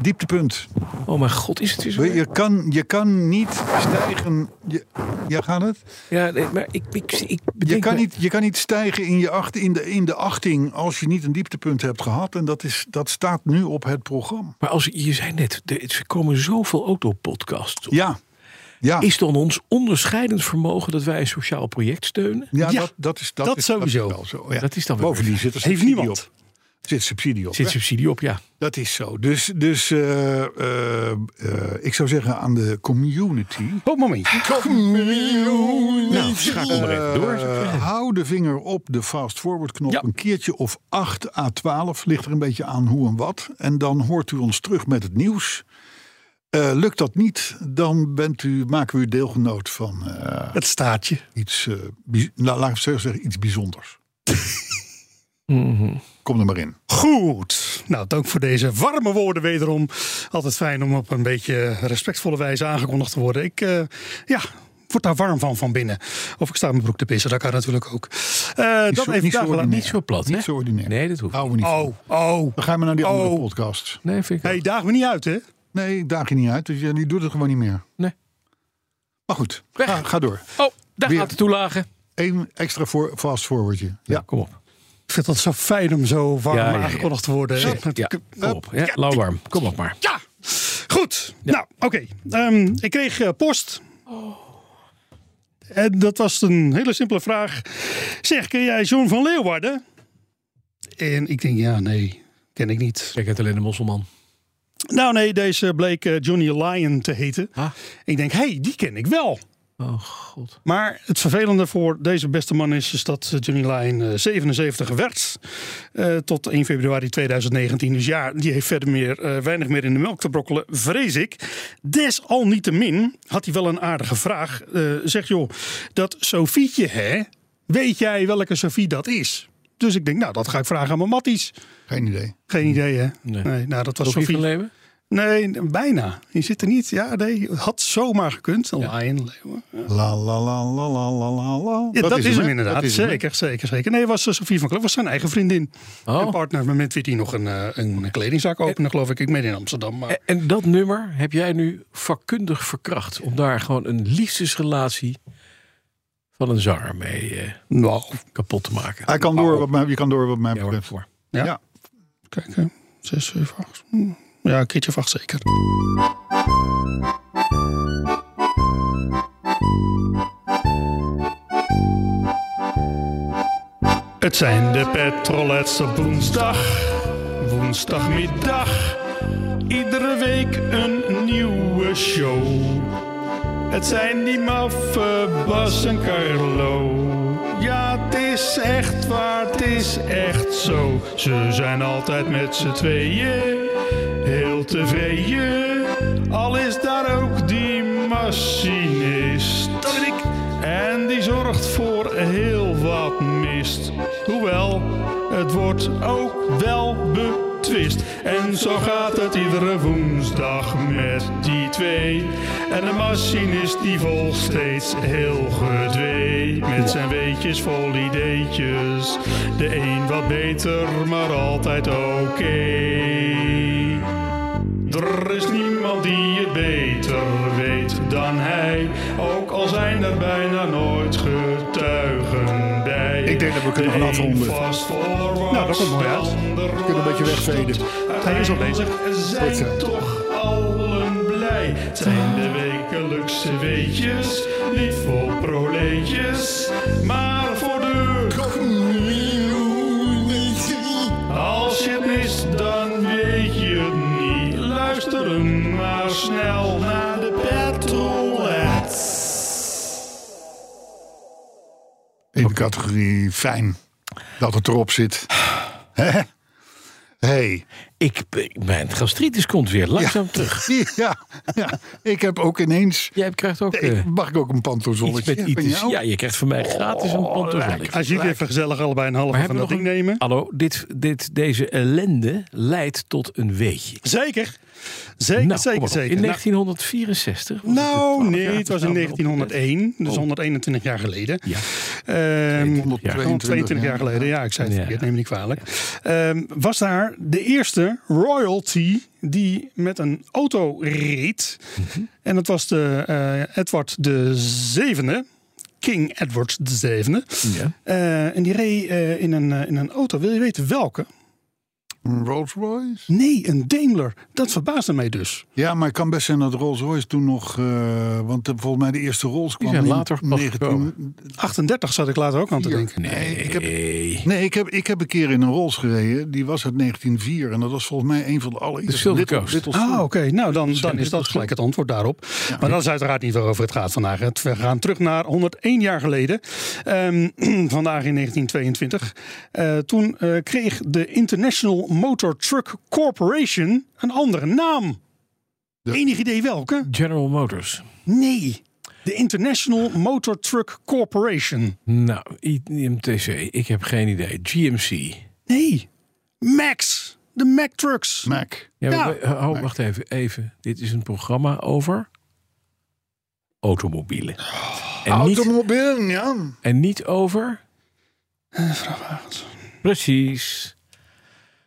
Dieptepunt. Oh mijn god, is het weer zo? Je kan, je kan niet stijgen. Je, ja, gaat het? Ja, nee, maar ik, ik, ik bedenk Je kan, me- niet, je kan niet stijgen in, je acht, in, de, in de achting als je niet een dieptepunt hebt gehad. En dat, is, dat staat nu op het programma. Maar als, je zei net, er er komen zoveel autopodcasts op. Ja, ja, Is dan ons onderscheidend vermogen dat wij een sociaal project steunen? ja, ja, dat, dat is dat dat is, sowieso. Dat is, wel zo, ja. Dat is dan wel Bovendien weer- zit er Heeft subsidie niemand. op. Er Zit subsidie op. Zit hè? subsidie op, ja. Dat is zo. Dus, dus eh, eh, eh, ik zou zeggen aan de community. Oh, momentje. Nou, schakel maar even door. Eh, hou de vinger op de fast forward knop. Ja. Een keertje of 8 à 12 ligt er een beetje aan hoe en wat. En dan hoort u ons terug met het nieuws. Eh, lukt dat niet, dan bent u, maken we u deelgenoot van eh, Het staatje. iets, eh, bij- nou, laat ik het zo zeggen, iets <laughs> bijzonders. Mhm. Kom er maar in. Goed. Nou, dank voor deze warme woorden wederom. Altijd fijn om op een beetje respectvolle wijze aangekondigd te worden. Ik, eh, ja, word daar warm van van binnen. Of ik sta in mijn broek te pissen, dat kan natuurlijk ook. Eh, dat zo- even niet zo daar gelaten. ordinair. Niet Niet zo- zo- Zo plat, Niet hè? zo ordinair. Nee, dat hoeft Houden we niet van. Oh, oh. Dan gaan we naar die andere Oh. podcast. Nee, vind ik Hé, hey, daag me niet uit, hè? Nee, daag je niet uit. Dus ja, die doet het gewoon niet meer. Nee. Maar goed, Weg. ga, ga door. Oh, daar Weer. gaat de toelage. Eén extra voor, fast forwardje. Ja, kom op. Ik vind dat zo fijn om zo warm Ja, ja, ja. aangekondigd te worden. Ja, Met- ja, kom op. Ja, lauw warm. Kom op maar. Ja, goed. Nou, oké. Ehm, ik kreeg eh, post. En dat was een hele simpele vraag. Zeg, ken jij John van Leeuwarden? En ik denk, ja, nee, ken ik niet. Kijk, het alleen de mosselman. Nou nee, deze bleek eh, Johnny Lyon te heten. Ah. Ik denk, hey, die ken ik wel. Oh, god. Maar het vervelende voor deze beste man is, is dat eh, Johnny Lyon eh, 77 werd. eh, tot 1 februari 2019. Dus ja, die heeft verder meer, eh, weinig meer in de melk te brokkelen, vrees ik. Desalniettemin had hij wel een aardige vraag. Eh, zeg joh, dat Sofietje hè, weet jij welke Sofie dat is? Dus ik denk, nou dat ga ik vragen aan mijn matties. Geen idee. Geen idee hè? Hmm. Nee. nou dat was Sophie Sofie. van Leeuwen? Nee, n- bijna. Je zit er niet. Ja, nee, had zomaar gekund. Lion, leeuwen. La la la la la la la la. Ja, dat, is hem, inderdaad. Dat is hem, hè? zeker, zeker, zeker. Nee, was eh, Sofie van Kleef was zijn eigen vriendin. En Oh. partner met wie hij nog een, eh, een kledingzaak opende, geloof ik. Ik meen in Amsterdam. Maar... En- En dat nummer heb jij nu vakkundig verkracht. Om daar gewoon een liefdesrelatie van een zanger mee eh, Nou, Ah. kapot te maken. Hij kan door wat mij, je kan door wat mij Oh. Ja, hoor, betreft. voor. ja. Ja. Kijk, hè. zes, zeven, acht. Hm. Ja, een keertje of acht zeker. Het zijn de petrolets op woensdag, woensdagmiddag. Iedere week een nieuwe show. Het zijn die maffe Bas en Carlo. Ja, het is echt waar, het is echt zo. Ze zijn altijd met z'n tweeën, heel tevreden. Al is daar ook die machinist. Dat ben ik. En die zorgt voor heel wat mist. Hoewel, het wordt ook wel betwist. En zo gaat het iedere woensdag met die twee. En de machinist die volgt steeds heel gedwee. Met zijn weetjes vol ideetjes. De een wat beter, maar altijd oké. Er is niemand die het beter weet dan hij, ook al zijn er bijna nooit getuigen bij. Ik denk dat we kunnen De gaan een afronden. vast voorwaarts, Nou, dat komt mooi uit. de ander We kunnen een beetje was wegveden. tot. Hij is al bezig. Goed zo. Zijn toch allen blij. Het zijn de wekelijkse weetjes, niet voor proleetjes, maar voor de Als je het mist, dan weet je het niet. Luisteren maar snel naar de petrolheads. In de categorie fijn dat het erop zit. Hè? Hey. <laughs> Ik, ik- mijn gastritis komt weer langzaam terug. Ja, ja, ik heb ook ineens. Jij krijgt ook eh, Ik, mag ik ook een iets pantozolletje? met iets. Ja, je krijgt van mij Oh, gratis een pantoffel. Als jullie even gezellig allebei een halve Maar van hebben dat we nog ding een- Ah. nemen. Hallo, dit, dit, deze ellende leidt tot een weetje. Zeker. Zeker, Nou, kom zeker, maar op. zeker. In Nou, 1964? was het Nou, 12 nee, jaar het was in geleden. 1901, dus Oh. 121 jaar geleden. Ja. Ehm, 122 122 jaar geleden, ja, ik zei het Ja. verkeerd, neem me niet kwalijk. Ehm, was daar de eerste royalty die met een auto reed. En dat was de eh, Edward de Zevende. King Edward de Zevende. Ja. Eh, en die reed eh, in, een, eh, in een auto. Wil je weten welke? Een Rolls Royce? Nee, een Daimler. Dat verbaasde mij dus. Ja, maar het kan best zijn dat Rolls Royce toen nog. eh, want eh, volgens mij de eerste Rolls kwam zijn in later pas 19... 38 zat ik later ook aan te denken. Nee, ik heb, nee ik, heb, ik heb een keer in een Rolls gereden. Die was uit 1904. En dat was volgens mij een van de allereerste. Silver Little- Coast. Little Ah, Silver. oké. Nou, dan, dan is dat gelijk het antwoord daarop. Maar dat is uiteraard niet waarover het gaat vandaag. Het- We gaan terug naar 101 jaar geleden. Ehm, <clears throat> vandaag in 1922. Eh, toen eh, kreeg de International Motor Truck Corporation een andere naam. Enig idee welke? General Motors. Nee. De International Motor Truck Corporation. Nou, IMTC, ik heb geen idee. GMC. Ja, Nee. Max. De Mac Trucks. Mac. Ja. we- oh, wacht even, even. Dit is een programma over automobielen. Oh, En niet, Automobiel, ja. en niet over. Precies.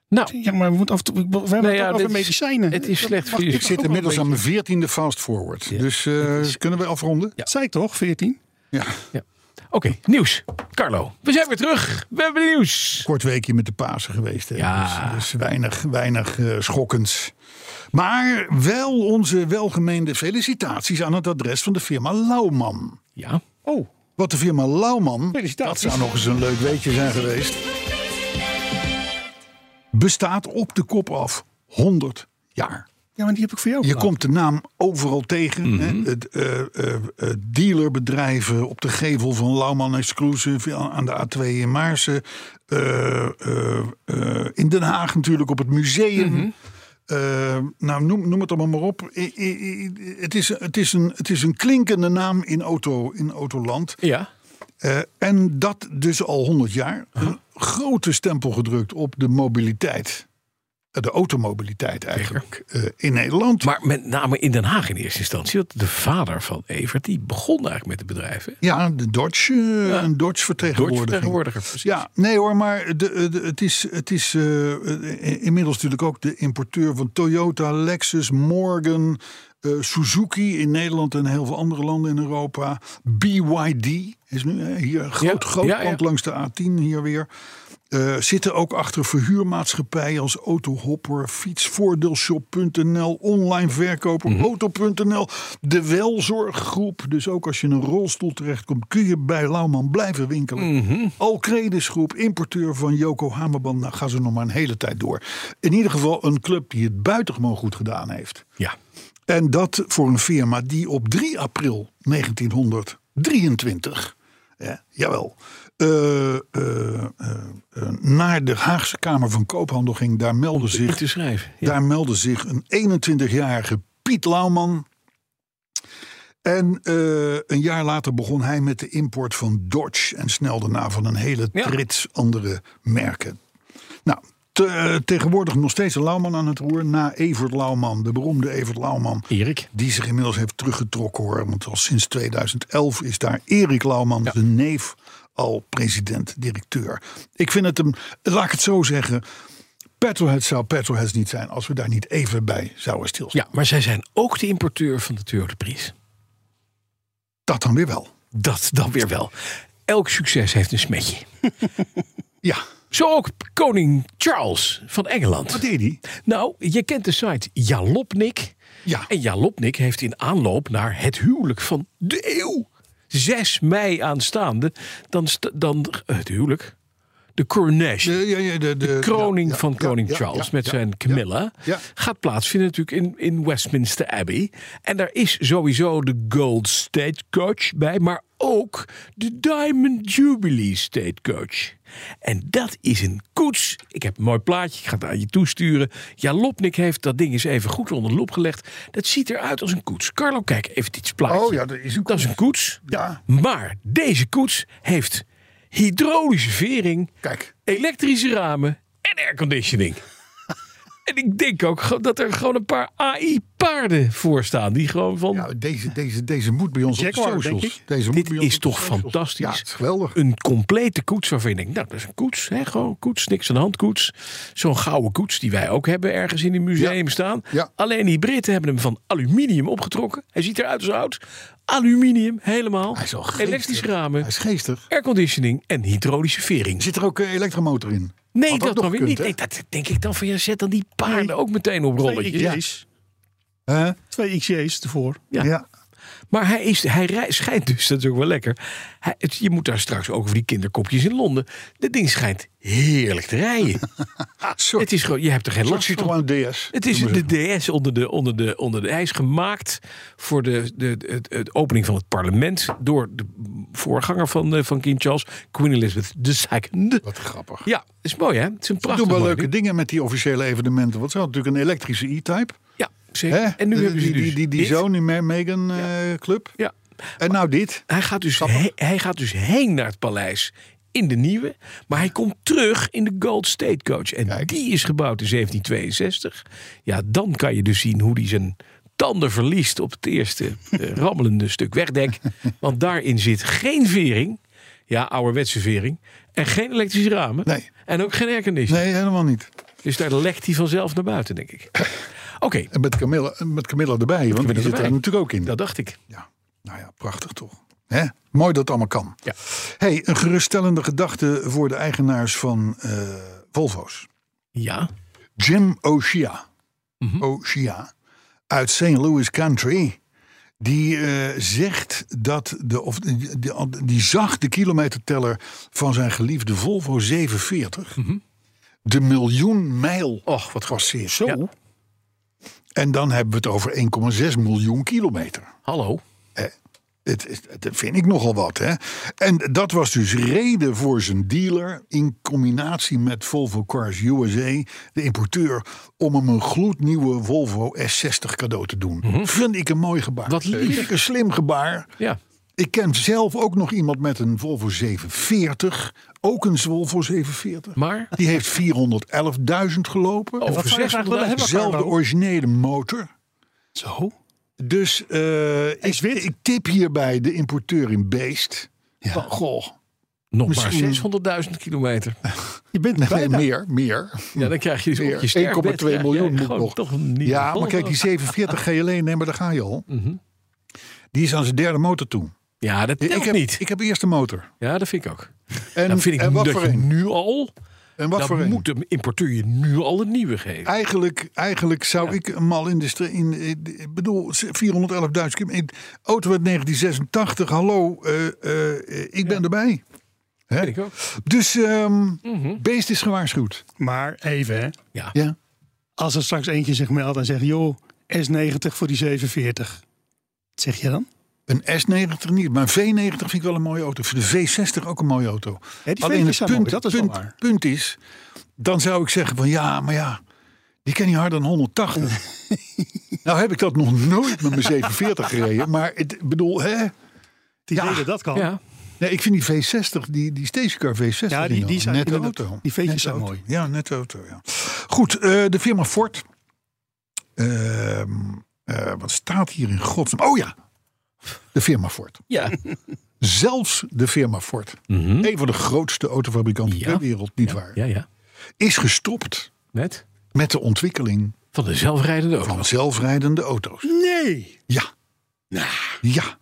Nou, Ja, maar we moeten af en toe. We hebben Nou het ja, ook over dit is- medicijnen. het is slecht voor Ik je. zit inmiddels aan mijn veertiende fast forward. Dus eh, kunnen we afronden? Dat zei ik toch, 14? Ja. Oké, nieuws. Carlo, we zijn weer terug. We hebben nieuws. Kort weekje met de Pasen geweest. Hè? Ja. Dus, dus weinig, weinig eh, schokkends. Maar wel onze welgemeende felicitaties aan het adres van de firma Lauwman. Ja. Oh, Wat de firma Lauwman, dat Felicitaties. zou nog eens een leuk weetje zijn geweest, bestaat op de kop af 100 jaar. ja, maar die heb ik voor jou. Je komt de naam overal tegen. hè? Het, eh, eh, eh, dealerbedrijven op de gevel van Lauwman Exclusive aan- aan de A2 in Maarsen. Eh, eh, eh, in Den Haag natuurlijk op het museum. Eh, nou, noem, noem het allemaal maar op. I- i- i- Het is, het, is een, het is een klinkende naam in, auto, in autoland. Ja. Eh, en dat dus al 100 jaar. Een grote stempel gedrukt op de mobiliteit. Eh, De automobiliteit eigenlijk eh, in Nederland. Maar met name in Den Haag in eerste instantie. Want de vader van Evert, die begon eigenlijk met het bedrijf. Hè? ja, de Dodge, eh, een Dodge Door vertegenwoordiging. vertegenwoordiger. Precies. Ja, nee hoor, maar de, eh, de- het is, het is eh, eh, inmiddels natuurlijk ook de importeur van Toyota, Lexus, Morgan, eh, Suzuki in Nederland en heel veel andere landen in Europa. BYD is nu eh, hier een groot, Ja, groot ja, ja. pand langs de A10 hier weer. Eh, zitten ook achter verhuurmaatschappijen als Autohopper, fietsvoordeelshop.nl, online verkoper, Mhm. auto.nl, de welzorggroep. Dus ook als je in een rolstoel terechtkomt, kun je bij Lauwman blijven winkelen. Mhm. Alcredesgroep, importeur van Yokohama-band. Nou, gaan ze nog maar een hele tijd door. In ieder geval een club die het buitengewoon goed gedaan heeft. Ja. En dat voor een firma die op 3 april 1923, ja, jawel, eh, eh, eh, eh, naar de Haagse Kamer van Koophandel ging. Daar meldde Niet zich, te schrijven. Oh, Ja. daar meldde zich een 21-jarige Piet Lauwman. En eh, een jaar later begon hij met de import van Dodge. En snel daarna van een hele Ja. trits andere merken. Nou, te- eh, tegenwoordig nog steeds een Lauwman aan het roer. Na Evert Lauwman, de beroemde Evert Lauwman. Erik. Die zich inmiddels heeft teruggetrokken hoor. Want al sinds 2011 is daar Erik Lauwman, de neef, al president-directeur. Ik vind het hem, laat ik het zo zeggen. Petrolheads zou Petrolheads niet zijn als we daar niet even bij zouden stilstaan. Ja, maar zij zijn ook de importeur van de Toyota Prius. Dat dan weer wel. Dat dan weer wel. Elk succes heeft een smetje. Ja, Zo ook koning Charles van Engeland. wat deed hij? Nou, je kent de site Jalopnik. Ja. En Jalopnik heeft in aanloop naar het huwelijk van de eeuw... 6 mei aanstaande, dan, st- dan eh, het huwelijk, de coronation. De, ja, ja, de, de, kroning ja, ja, van ja, koning ja, Charles ja, met ja, zijn Camilla ja. gaat plaatsvinden natuurlijk in, in Westminster Abbey. En daar is sowieso de Gold Stagecoach bij, maar ook de Diamond Jubilee Stagecoach. En dat is een koets. Ik heb een mooi plaatje, ik ga het aan je toesturen. Jalopnik heeft dat ding eens even goed onder de loep gelegd. Dat ziet eruit als een koets. Carlo, kijk even dit plaatje. Oh ja, dat is een Dat is een koets. Ja. Maar deze koets heeft hydraulische vering Kijk, elektrische ramen en <laughs> airconditioning. en ik denk ook gewoon dat er gewoon een paar AI-paarden voor staan. Die gewoon van. ja, deze, deze, deze moet bij ons Jaguar, op de denk socials. ik. Deze moet dit bij ons is op de toch socials. fantastisch? Ja, het is geweldig. Een complete koets waarvan je denkt, nou, dat is een koets. Hè? Gewoon koets, niks aan de hand koets. Zo'n gouden koets die wij ook hebben ergens in een museum staan. Ja. Alleen die Britten hebben hem van aluminium opgetrokken. Hij ziet eruit als oud. Aluminium, helemaal. Hij is al geestig. Elektrische Hij ramen, is geestig. airconditioning en hydraulische vering. Zit er ook een elektromotor in? Nee, Had dat, nog nog weer gekund, niet. hè? Nee, dat denk ik dan van ja, zet dan die paarden ook meteen op rolletjes. Twee XJ's. Hè? Twee XJ's ervoor. Ja. ja. Maar hij, is, hij rij- schijnt dus, dat is ook wel lekker. Hij, het- je moet daar straks ook over die kinderkopjes in Londen. Dat ding schijnt heerlijk te rijden. <laughs> Sorry. het is gewoon, je hebt er geen Een soort last van. Citroën DS. Het is de DS onder de, onder de, onder de. Hij is gemaakt voor de, de, het, het opening van het parlement. door de voorganger van, eh, van King Charles, Queen Elizabeth II. Wat grappig. Ja, is mooi hè? Het is een Ze prachtig doen wel mooi leuke ding. dingen met die officiële evenementen. Want ze hadden natuurlijk een elektrische E-Type. Ja, hè? zeker. En nu De- hebben ze die, dus die, die, die dit. zoon in Megan eh, Club. Ja, En nou <laughs> dit. Hij gaat, dus he- hij gaat dus heen naar het paleis in de nieuwe. Maar hij komt terug in de Gold State Coach. En die is gebouwd in 1762. Ja, dan kan je dus zien hoe die zijn tanden verliest op het eerste eh, rammelende stuk wegdek. Want daarin zit geen vering. Ja, ouderwetse vering. En geen elektrische ramen. Nee. En ook geen airconditioning. Nee, helemaal niet. Dus daar lekt hij vanzelf naar buiten, denk ik. Oké, En met Camilla, met Camilla erbij, want die Camilla zit erbij. er natuurlijk ook in. dat dacht ik. Ja, nou ja, prachtig toch. Hè? Mooi dat het allemaal kan. Ja. Hey, een geruststellende gedachte voor de eigenaars van eh, Volvo's. Ja. Jim O'Shea. Mhm. O'Shea, Uit St. Louis Country. Die eh, zegt dat de. Of, die, die- die zag de kilometerteller van zijn geliefde Volvo 740. De miljoen mijl Mhm. Och, wat goed. passeert. Zo. Ja. En dan hebben we het over 1,6 miljoen kilometer. Hallo. Het, is- dat vind ik nogal wat, hè? En dat was dus reden voor zijn dealer... in combinatie met Volvo Cars USA, de importeur... om hem een gloednieuwe Volvo S60 cadeau te doen. Vind ik een mooi gebaar. Mhm. Wat lief. Vind ik een slim gebaar. Ja. Ik ken zelf ook nog iemand met een Volvo 740. Ook een Volvo 740. Maar? Die heeft 411.000 gelopen. Over Over zou je graag willen hebben, Zelfde Carlo? originele motor. Zo. Dus eh, ik, ik tip hierbij de importeur in Beest. Van, goh, Nog Misschien- maar 600.000 <laughs> kilometer. Je bent nee, meer, meer. Ja, dan krijg je dus op je meer. sterfbed, 1,2 krijg miljoen jij moet gewoon nog. Toch een nieuwe ja, maar Volvo. kijk, die 740 ga je alleen nemen, daar ga je al. Mhm. Die is aan zijn derde motor toe. Ja, dat telt ik, heb, niet. ik heb eerst de motor. Ja, dat vind ik ook. En, dan vind ik en wat dat voor je een? nu al... En wat dan voor een? moet de importeur je nu al een nieuwe geven. Eigenlijk, eigenlijk zou ik hem al in de... stre- In, in- ik bedoel, 411.000 kilometer. in- Auto uit 1986, hallo, eh, eh, eh, ik ben erbij. Hè? Vind ik ook. Mhm. Dus ehm, Beest is gewaarschuwd. Maar even, hè. Ja. als er straks eentje zich meldt en zegt... joh, S90 voor die 47. Wat zeg je dan? Een S90 niet, maar een V90 vind ik wel een mooie auto. Voor de V60 ook een mooie auto. Ja, die Alleen V90 het zijn punt, mooi, dat is wel punt, waar. punt is, dan zou ik zeggen van ja, maar ja, die kan niet harder dan <laughs> 180. nou heb ik dat nog nooit met mijn 47 gereden, maar ik bedoel, hè? Die Ja. reden dat kan. Ja. Nee, ik vind die V60, die, die stationcar V60, Ja, die- vind ik die wel zijn een nette inderdaad- auto. die veetjes Nette zijn auto. mooi. Ja, nette auto, ja. Goed, eh, de firma Ford. Ehm, eh, wat staat hier in godsnaam? Oh ja, de firma Ford. Ja. Mhm. Zelfs de firma Ford, een van de grootste autofabrikanten Ja. ter wereld, niet waar, Ja, ja. is gestopt Net. met de ontwikkeling Van de zelfrijdende auto. van zelfrijdende auto's. Nee! Ja. Nou. Ja.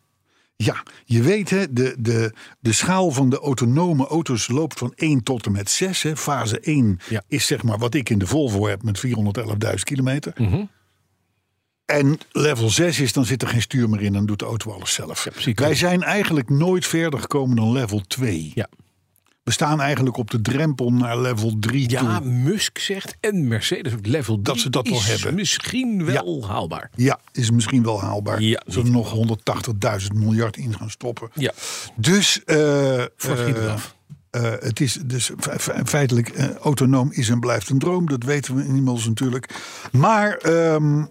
Ja. Je weet, hè, de, de, de schaal van de autonome auto's loopt van 1 tot en met 6. Hè. Fase 1 Ja. is zeg maar wat ik in de Volvo heb met 411.000 kilometer. Mhm. En level 6 is, dan zit er geen stuur meer in, dan doet de auto alles zelf. precies. Wij zijn eigenlijk nooit verder gekomen dan level 2. Ja. We staan eigenlijk op de drempel naar level 3 Ja, toe. Musk zegt en Mercedes ook level Dat 3 ze dat wel is hebben. misschien wel haalbaar. Ja, is misschien wel haalbaar. Ja, Zullen we nog 180.000 miljard in gaan stoppen. Ja. Dus eh, Ford eh, giet eraf. eh, het is dus fe- fe- feitelijk eh, autonoom is en blijft een droom. Dat weten we inmiddels natuurlijk. Maar ehm,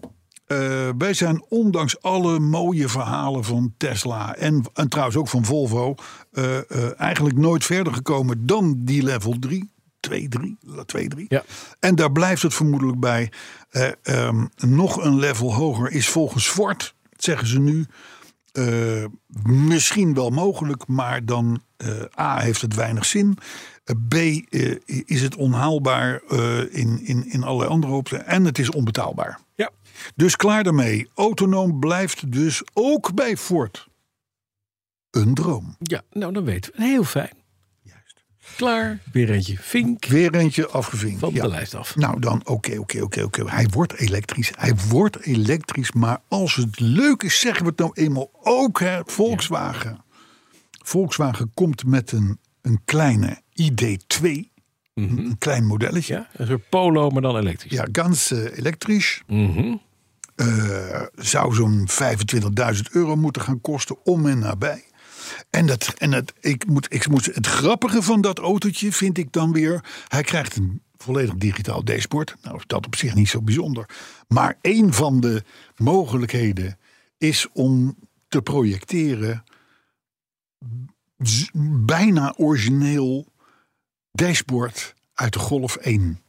eh, wij zijn ondanks alle mooie verhalen van Tesla en, en trouwens ook van Volvo eh, eh, eigenlijk nooit verder gekomen dan die level 3. 2, 3, 2, 3. Ja. En daar blijft het vermoedelijk bij. Eh, ehm, nog een level hoger is volgens Ford, zeggen ze nu, eh, misschien wel mogelijk, maar dan eh, A heeft het weinig zin. Eh, B eh, is het onhaalbaar eh, in, in, in allerlei andere opzichten. En het is onbetaalbaar. Ja. Dus klaar daarmee. Autonoom blijft dus ook bij Ford een droom. Ja, nou dan weten we. Heel fijn. Juist. Klaar. Weer eentje. Vink Weer eentje afgevinkt. van Ja. de lijst af. Nou dan, oké, oké, oké, oké. Hij wordt elektrisch. Hij wordt elektrisch. Maar als het leuk is, zeggen we het nou eenmaal ook. Hè? Volkswagen. Volkswagen komt met een, een kleine ID2. Een- Een klein modelletje. Ja, Ja, een soort polo, maar dan elektrisch. ganz eh, elektrisch. Eh, zou zo'n 25.000 euro moeten gaan kosten om en nabij. En, dat, en dat, ik moet, ik moet, het grappige van dat autootje vind ik dan weer... hij krijgt een volledig digitaal dashboard. Nou is dat op zich niet zo bijzonder. Maar een van de mogelijkheden is om te projecteren... z- bijna origineel dashboard uit de Golf 1.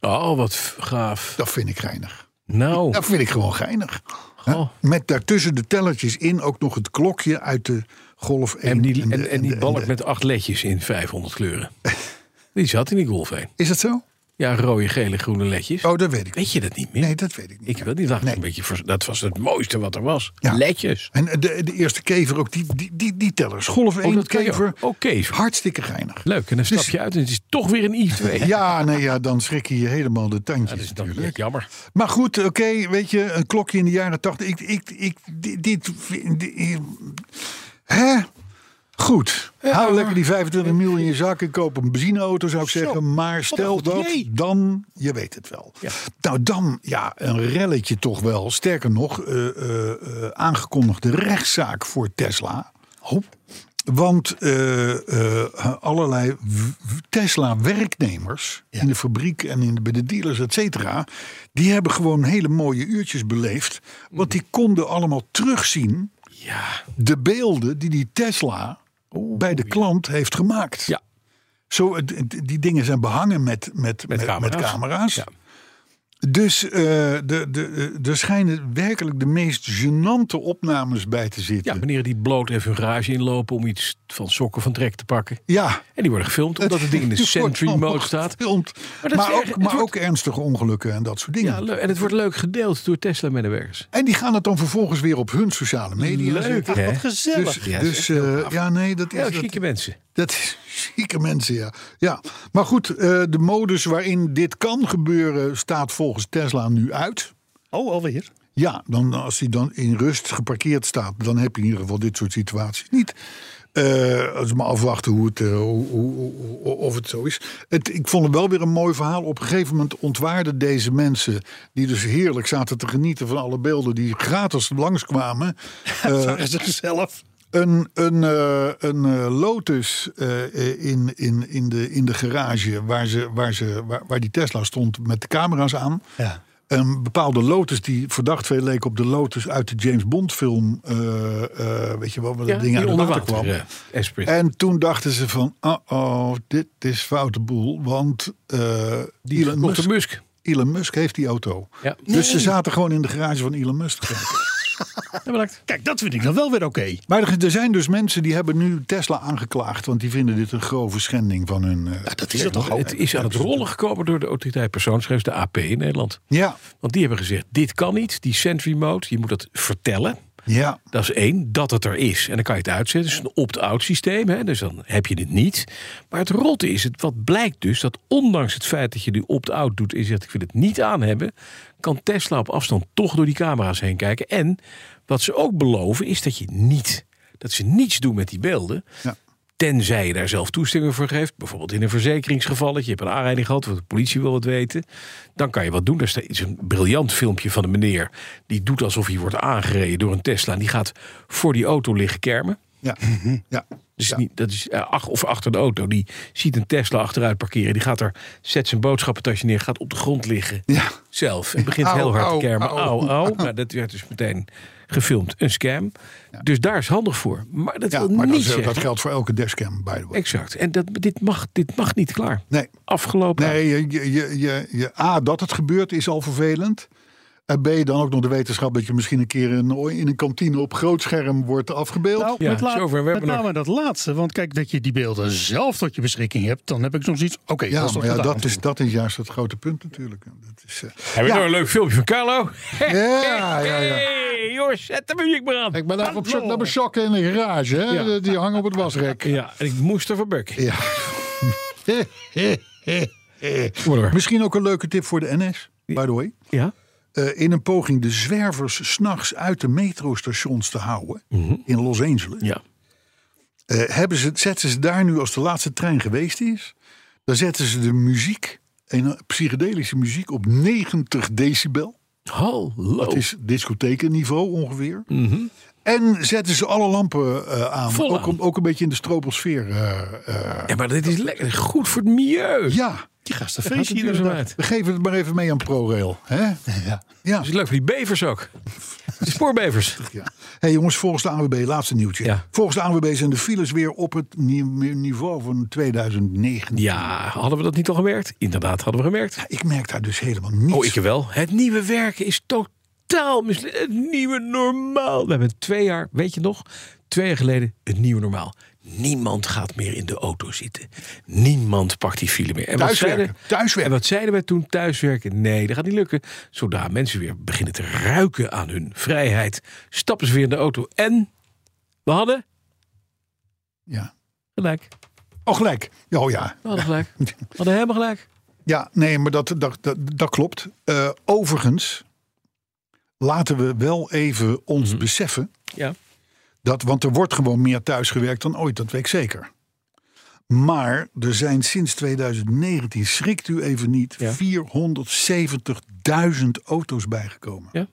Oh, wat f- gaaf. Dat vind ik geinig. Nou, Dat vind ik gewoon geinig. Hè? Met daartussen de tellertjes in ook nog het klokje uit de Golf 1. En die, de- en, en die de- balk de- met acht ledjes in <laughs> 500 kleuren. Die zat in die Golf 1. Is dat zo? Ja, rode, gele, groene ledjes. Oh, dat weet ik Weet je dat niet meer? Nee, dat weet ik niet. Ik wil die dacht Nee. een beetje, vers- dat was het mooiste wat er was. Ja. Ledjes. En eh, de, de eerste kever ook, die, die, die, die tellers. Golf 1 dat kan je kever. ook. Oh, kever. Hartstikke geinig. Leuk, en dan stap Dus- je uit en het is toch weer een <laughs> i2. Ja, nee, ja, dan schrik je je helemaal de tandjes. Dat is dan natuurlijk. weer jammer. Maar goed, oké, weet je, een klokje in de jaren tachtig. Ik, ik, ik, dit, dit, dit- hè? Goed. Hou lekker die 25 miljoen in je zak en koop een benzineauto, zou ik zeggen. Maar stel goed dat, idee. dan, je weet het wel. Nou, dan, ja, een relletje toch wel. Sterker nog, eh, eh, eh, aangekondigde rechtszaak voor Tesla. Want eh, eh, allerlei w- w- Tesla-werknemers in de fabriek en in de, bij de dealers, et cetera, die hebben gewoon hele mooie uurtjes beleefd. Want Mm. die konden allemaal terugzien Ja. de beelden die die Tesla bij de klant heeft gemaakt. Ja. Zo, eh, d- d- die dingen zijn behangen met, met, met, met camera's. camera's. Ja. Dus eh, de, de, de, er schijnen werkelijk de meest gênante opnames bij te ja, zitten. meneer die bloot even hun garage inlopen om iets van sokken van trek te pakken. ja. En die worden gefilmd omdat het ding in de <laughs> Het wordt Sentry mode allemaal staat. gefilmd. Maar Maar, dat is erg. ook, Het maar wordt- ook ernstige ongelukken en dat soort dingen. Ja, leuk. En het wordt leuk gedeeld door Tesla-medewerkers. en die gaan het dan vervolgens weer op hun sociale media zetten. hè? Wat gezellig. Dus, dus eh, ja, nee, dat is, Ja, dat, chique mensen. dat is zieke mensen, ja. ja. Maar goed, eh, de modus waarin dit kan gebeuren staat volgens Tesla nu uit. Oh, <laughs> alweer. Ja, dan, als hij dan in rust geparkeerd staat, dan heb je in ieder geval dit soort situaties niet. Eh, als we maar afwachten hoe het, eh, hoe, hoe, hoe- hoe- of het zo is. Het, ik vond het wel weer een mooi verhaal. Op een gegeven moment ontwaarden deze mensen, die dus heerlijk zaten te genieten van alle beelden die gratis langskwamen, eh, Zagen ze zelf. een, een, eh, een eh, Lotus eh, eh, in, in, in, de, in de garage waar, ze, waar, ze, waar, waar die Tesla stond met de camera's aan. Ja. Een bepaalde Lotus die verdacht veel leek op de Lotus uit de James Bond film. eh, eh, weet je wel, waar dat ding uit het water kwam. eh, Esprit. En toen dachten ze van, oh, dit is foute boel. Want eh, die Elon, Elon Musk, Musk. Elon Musk heeft die auto. Ja. Dus ze zaten gewoon in de garage van Elon Musk. <laughs> te kijken. Ja, bedankt. Kijk, dat vind ik dan wel weer oké. maar er, er zijn dus mensen die hebben nu Tesla aangeklaagd. Want die vinden dit een grove schending van hun... eh, dat is het toch ook. Het is aan het rollen gekomen door de autoriteit persoonsgegevens, de AP in Nederland. ja, Want die hebben gezegd, dit kan niet, die Sentry Mode, je moet dat vertellen. ja. Dat is één, dat het er is. En dan kan je het uitzetten. Het is een opt-out systeem, hè? dus dan heb je dit niet. Maar het rotte is, het, wat blijkt dus, dat ondanks het feit dat je die opt-out doet... en zegt, ik wil het niet aan hebben... kan Tesla op afstand toch door die camera's heen kijken. En wat ze ook beloven, is dat je niet... dat ze niets doen met die beelden... Ja. Tenzij je daar zelf toestemming voor geeft. Bijvoorbeeld in een verzekeringsgevalletje. Je hebt een aanrijding gehad, want de politie wil wat weten. Dan kan je wat doen. Daar sta- is een briljant filmpje van een meneer. Die doet alsof hij wordt aangereden door een Tesla. En die gaat voor die auto liggen kermen. Ja, Mhm. ja. Dus Ja. niet, dat is eh, ach, of achter de auto. Die ziet een Tesla achteruit parkeren. Die gaat er, zet zijn boodschappentasje neer, gaat op de grond liggen. Ja. Zelf. En begint Au, heel hard au, te kermen. au. Au, <laughs> au. Nou, dat werd dus meteen gefilmd. Een scam. Dus daar is handig voor. Maar dat Ja, wil maar dat, niet is- zeggen... dat geldt voor elke dashcam, by the way. Exact. En dat, dit, mag, dit mag niet klaar. Nee. Afgelopen. Nee, je, je, je, je, je- A, dat het gebeurt is al vervelend. En B, dan ook nog de wetenschap dat je misschien een keer in, in een kantine op groot scherm wordt afgebeeld. Nou, Ja, met, laat- zover. We met hebben nog- name dat laatste. Want kijk, dat je die beelden zelf tot je beschikking hebt, dan heb ik soms iets. Oké, ja, dat is maar toch ja, gedaan. dat, is, dat is juist het grote punt natuurlijk. Dat is, eh, <laughs> Heb je ja. nog een leuk filmpje van Carlo? ja, ja, ja. Hey, jongens, zet de muziek maar aan. Ik ben even op zoek naar mijn sokken in de garage. Hè? eh, Ja. Die hangen op het wasrek. Ja, en ik moest er van bukken. Ja. Whatever. Misschien ook een leuke tip voor de NS, by the way. Ja? Eh, in een poging de zwervers s'nachts uit de metrostations te houden in Los Angeles. Ja. Eh, hebben ze, zetten ze daar nu, als de laatste trein geweest is, dan zetten ze de muziek, een psychedelische muziek, op 90 decibel. Hallo. Mhm. Dat is discothekenniveau ongeveer. En zetten ze alle lampen eh, aan. Vol Ook, aan. ook een beetje in de stroposfeer. eh, eh. Ja, maar dit is lekker goed voor het milieu. Ja, Je gaat een Gaat het feestje hier zo inderdaad. uit. we geven het maar even mee aan ProRail. <laughs> Hè? Ja. Ja. Dat is leuk voor die bevers <laughs> ook. De spoorbevers. Ja. hey jongens, volgens de ANWB, laatste nieuwtje. Ja. Volgens de ANWB zijn de files weer op het ni- niveau van 2019. Ja, hadden we dat niet al gemerkt? Inderdaad, hadden we gemerkt. Oh, Ik merk daar dus helemaal niets Oh, ik wel. Het nieuwe werken is totaal totaal mislukt. Het nieuwe normaal. We hebben twee jaar, weet je nog, twee jaar geleden het nieuwe normaal. Niemand gaat meer in de auto zitten. Niemand pakt die file meer. En wat Thuiswerken, zeiden- thuiswerken. En wat zeiden we toen? Thuiswerken? Nee, dat gaat niet lukken. Zodra mensen weer beginnen te ruiken aan hun vrijheid, stappen ze weer in de auto. En we hadden Ja. gelijk. Oh, gelijk. Ja, Oh ja. We hadden gelijk. We hadden helemaal gelijk. Ja, nee, maar dat, dat, dat, dat klopt. Eh, overigens, laten we wel even ons beseffen. Ja. Dat, want er wordt gewoon meer thuisgewerkt dan ooit, dat weet ik zeker. Maar er zijn sinds 2019, schrikt u even niet, Ja. 470.000 auto's bijgekomen. Ja,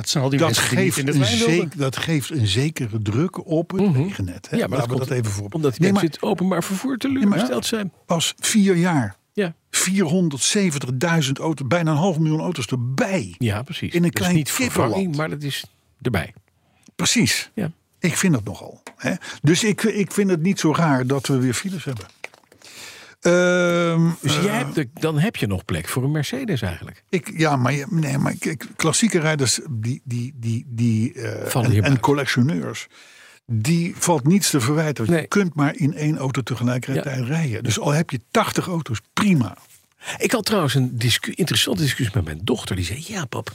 het zijn al die Dat mensen die niet geeft, in het een wijn wilden. zeker, dat geeft een zekere druk op het wegennet. Hè? Ja, maar dat Laten we dat komt even voor. Omdat die nee, maar mensen het openbaar vervoer Ja, maar- teleurgesteld zijn. pas vier jaar Ja. 470.000 auto's, bijna een half miljoen auto's erbij. ja, precies. In een Dat is klein niet vervanging, kippenland. maar dat is erbij. Precies. Ja. Ik vind dat nogal. Hè? Dus ik, ik vind het niet zo raar dat we weer files hebben. Ehm, Dus eh, jij hebt de- dan heb je nog plek voor een Mercedes eigenlijk. ik, ja, maar, je- nee, maar ik, klassieke rijders die, die, die, die, eh, Vallen en, hier en buiten. collectioneurs, die valt niets te verwijten. Want Nee. Je kunt maar in één auto tegelijkertijd rijden. Dus al heb je 80 auto's, prima. Ik had trouwens een discu- interessante discussie met mijn dochter. Die zei, ja pap,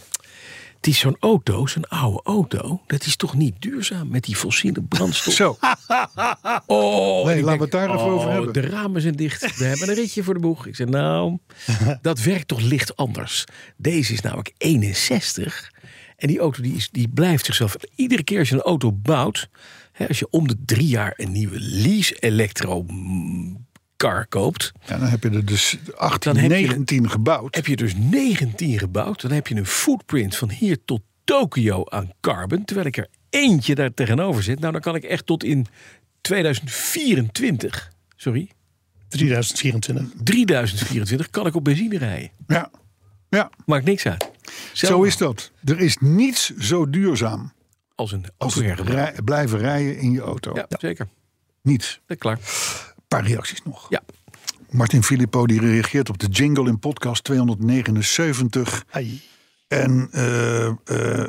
het is zo'n auto, zo'n oude auto. Dat is toch niet duurzaam met die fossiele brandstof? Zo, Oh, Nee, en ik laten we het denk, daar even oh, over hebben. De ramen zijn dicht. We hebben een ritje voor de boeg. Ik zei, nou, <laughs> dat werkt toch licht anders. Deze is namelijk 61. En die auto die, is, die blijft zichzelf. Iedere keer als je een auto bouwt. Hè, als je om de drie jaar een nieuwe lease-elektro-car koopt. ja, dan heb je er dus 18, Dan heb je- 19 gebouwd. Heb je dus 19 gebouwd. Dan heb je een footprint van hier tot Tokio aan carbon. Terwijl ik er eentje daar tegenover zit. Nou, dan kan ik echt tot in 2024. Sorry. 2024. 3024 kan ik op benzine rijden. Ja, ja. Maakt niks uit. Zelf zo is dat. Er is niets zo duurzaam Als een als auto het rij- blijven rijden in je auto. Ja, zeker. Niets. Dat klaar. Een paar reacties nog. Ja. Martin Filippo die reageert op de jingle in podcast 279 Ai. en eh, eh,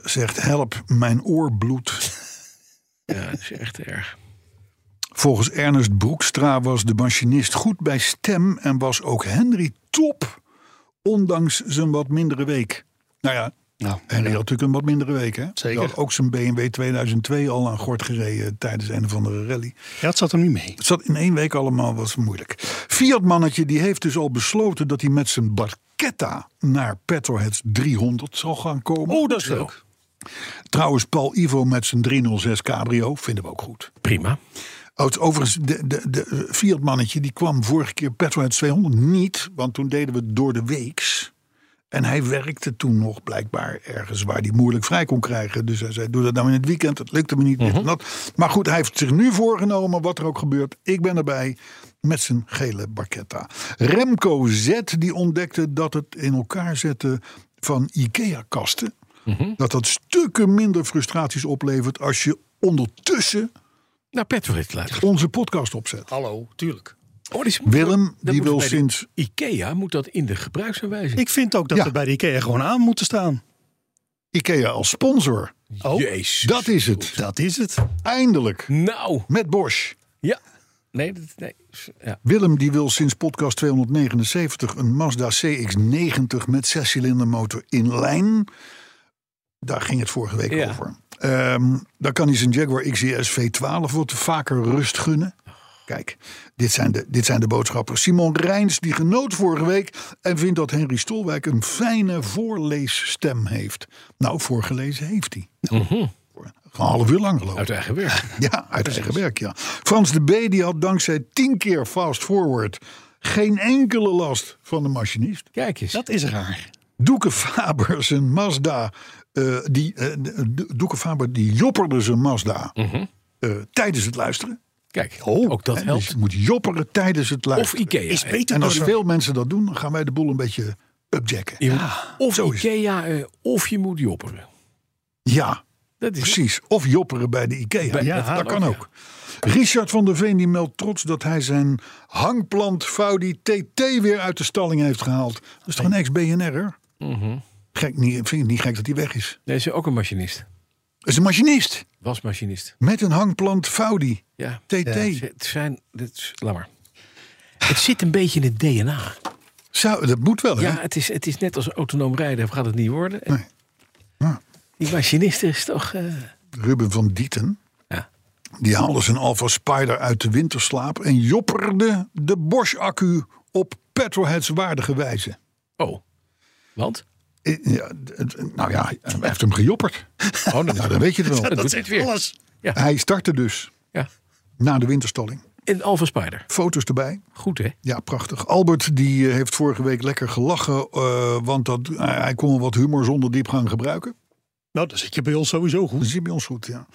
zegt help mijn oor bloedt. ja, dat is echt erg. Volgens Ernest Broekstra was de machinist goed bij stem en was ook Henry top, ondanks zijn wat mindere week. Nou ja, Nou, Henry had natuurlijk een wat mindere week hè. Zeker. Hij had ook zijn BMW 2002 al aan gort gereden tijdens een of andere rally. ja, het zat hem niet mee. Het zat in één week allemaal, was moeilijk. Fiat-mannetje die heeft dus al besloten dat hij met zijn Barketta naar Petroheads 300 zal gaan komen. Oh, dat is leuk. Trouwens, Paul Ivo met zijn 306 Cabrio vinden we ook goed. Prima. Oud- Oh, Overigens, de, de, de Fiat-mannetje die kwam vorige keer Petroheads 200 niet, want toen deden we het door de weeks. En hij werkte toen nog blijkbaar ergens waar hij moeilijk vrij kon krijgen. Dus hij zei, doe dat nou in het weekend. Het lukte me niet. dit en dat. Maar goed, hij heeft zich nu voorgenomen, wat er ook gebeurt. Ik ben erbij met zijn gele barketta. Remco Z, die ontdekte dat het in elkaar zetten van IKEA-kasten... dat dat stukken minder frustraties oplevert als je ondertussen Nou, petrolhead laten. onze podcast opzet. Hallo, tuurlijk. Oh, die is- Willem, dat die moeten wil bij de sinds- Ikea moet dat in de gebruiksaanwijzing. Ik vind ook dat Ja. we bij de IKEA gewoon aan moeten staan. IKEA als sponsor. Oh, Jezus. Dat is het. dat is het. Eindelijk. Nou. Met Bosch. Ja. Nee, dat, nee. Ja. Willem die wil sinds podcast 279 een Mazda CX-90 met zescilindermotor in lijn. Daar ging het vorige week Ja. over. Ehm dan kan hij zijn Jaguar E XJS V12 wat vaker rust gunnen. Kijk, dit zijn, de, dit zijn de boodschappers. Simon Rijns die genoot vorige week en vindt dat Henry Stolwijk een fijne voorleesstem heeft. Nou, voorgelezen heeft hij. Voor Een half uur lang geloof ik. Uit eigen werk. Ja, uit eigen werk, ja. Frans de B. die had dankzij tien keer fast forward geen enkele last van de machinist. Kijk eens. Dat is raar. Doeke Faber zijn Mazda, eh, die, eh, de- de- Doeke Faber die jopperde zijn Mazda Mhm. eh, tijdens het luisteren. Kijk. ook dat Hè, Dus helpt. je moet jopperen tijdens het Of luisteren. Ikea. Is beter en als dan- veel mensen dat doen, dan gaan wij de boel een beetje upjacken. Je moet- of zo is het. Ikea, eh, of je moet jopperen. Ja, Dat is Precies, of jopperen bij de IKEA. Bij- ja, dat dat, kan kan ook, ook. Richard van der Veen die meldt trots dat hij zijn Mhm. hangplant Faudi TT weer uit de stalling heeft gehaald. Dat is toch een ex-BNR'er? Gek, niet, vind ik niet gek dat hij weg is. Nee, is ook een machinist. Het is een machinist Was machinist. met een hangplant Faudi. Ja. TT. Ze- Het zijn... Het, is- laat maar. Het zit een beetje in het DNA. Oh, Zou, dat moet wel, hè? Ja, het is, het is net als autonoom rijden. Gaat het niet worden. En Nee. Ah. Ja. Die machinist is toch... eh, Ruben van Dieten. Ja. Die haalde zijn Alfa Spider uit de winterslaap en jopperde de Bosch-accu op petrolheads waardige wijze. Oh. Want? Eh, Ja, d- d- nou ja, hij heeft hem gejopperd. Oh, dan, Nou, dan weet je het <laughs> wel. dat doet zegt het weer. alles. Hij startte dus Ja. na de winterstalling. In Alpha Spider. Foto's erbij. Goed, hè? Ja, prachtig. Albert die eh, heeft vorige week lekker gelachen, eh, want dat, hij- hij kon wel wat humor zonder diepgang gebruiken. Nou, dan zit je bij ons sowieso goed. Dat zie je bij ons goed, ja.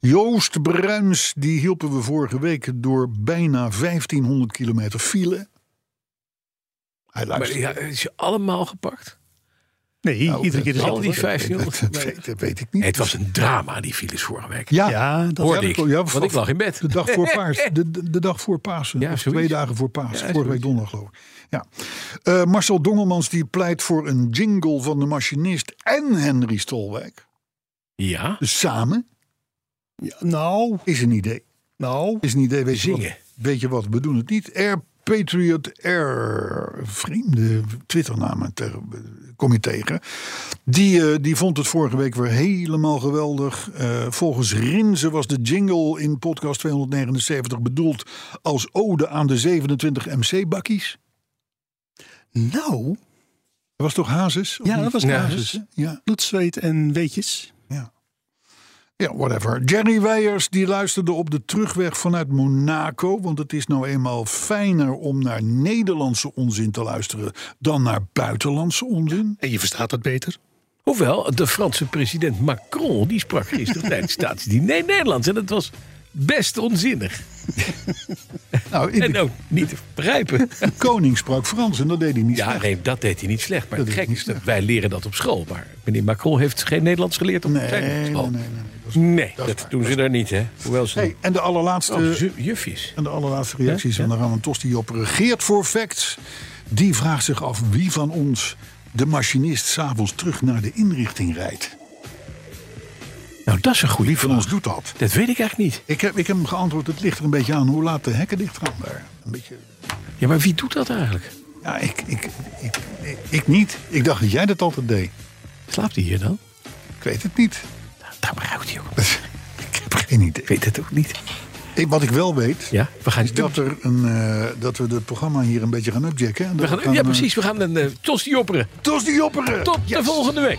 Joost Bruins, die hielpen we vorige week door bijna 1500 kilometer file. Hij Maar luistert. ja, is je allemaal gepakt? Nee, Nou, iedere keer dat- Al dezelfde. die dat, hoor. 1500? dat weet, dat weet ik niet. Nee, het was een drama, die files vorige week. ja, Ja, dat Hoorde ik. dat- ja, want ik lag in bed. De dag <laughs> voor paas. De, de, de dag voor Pasen. Ja, Of twee zoiets. dagen voor Pasen. Ja, Vorige week donderdag geloof ik. Ja. Eh, Marcel Dongelmans die pleit voor een jingle van de machinist en Henry Stolwijk. Ja. Dus samen Ja, nou, is een idee. nou. Is een idee. Weet Je Zingen. wat, weet je wat? We doen het niet. Air Patriot Air. Vreemde Twitternamen ter- kom je tegen. Die, eh, die vond het vorige week weer helemaal geweldig. Eh, volgens Rinze was de jingle in podcast 279 bedoeld als ode aan de 27 MC-bakkies. Nou, Dat was toch Hazes? of ja, niet? dat was Ja. basis. hè? Ja, Bloed, zweet en weetjes. ja. Ja, whatever. Jerry Weijers die luisterde op de terugweg vanuit Monaco. Want het is nou eenmaal fijner om naar Nederlandse onzin te luisteren dan naar buitenlandse onzin. En je verstaat het beter. Hoewel, de Franse president Macron, die sprak <laughs> gisteren tijdens staatsdienst nee, Nederlands. En dat was best onzinnig. Nou, in En de ook niet te begrijpen. koning sprak Frans en dat deed hij niet <laughs> nou. Ja, slecht. nee, dat deed hij niet slecht. Maar Dat het is gek niet is, dat wij leren dat op school. Maar meneer Macron heeft geen Nederlands geleerd op Nee, zijn nee, nee, school. nee, nee. Nee, dat, waar, doen ze daar niet, hè? Hoewel ze... Hey, en de allerlaatste... Oh, zu- jufjes. En de allerlaatste reacties van de Ramon Tos die op regeert voor facts. Die vraagt zich af wie van ons de machinist s'avonds terug naar de inrichting rijdt. Nou, dat is een goede Wie van ons vraag. doet dat? Dat weet ik eigenlijk niet. Ik heb, ik heb hem geantwoord, het ligt er een beetje aan hoe laat de hekken dicht gaan daar. Een beetje, Ja, maar wie doet dat eigenlijk? ja, ik, ik, ik, ik, ik niet. Ik dacht dat jij dat altijd deed. Slaapt hij hier dan? Ik weet het niet. <laughs> Daar houdt hij ook. ik heb geen idee. Ik weet het ook niet. Ik- wat ik wel weet, Ja, we gaan is dat, er een, eh, dat we het programma hier een beetje gaan upjacken. En dat We gaan, ja, eh, precies. We gaan een eh tos die opperen. Tos die opperen! Tot de Yes. volgende week.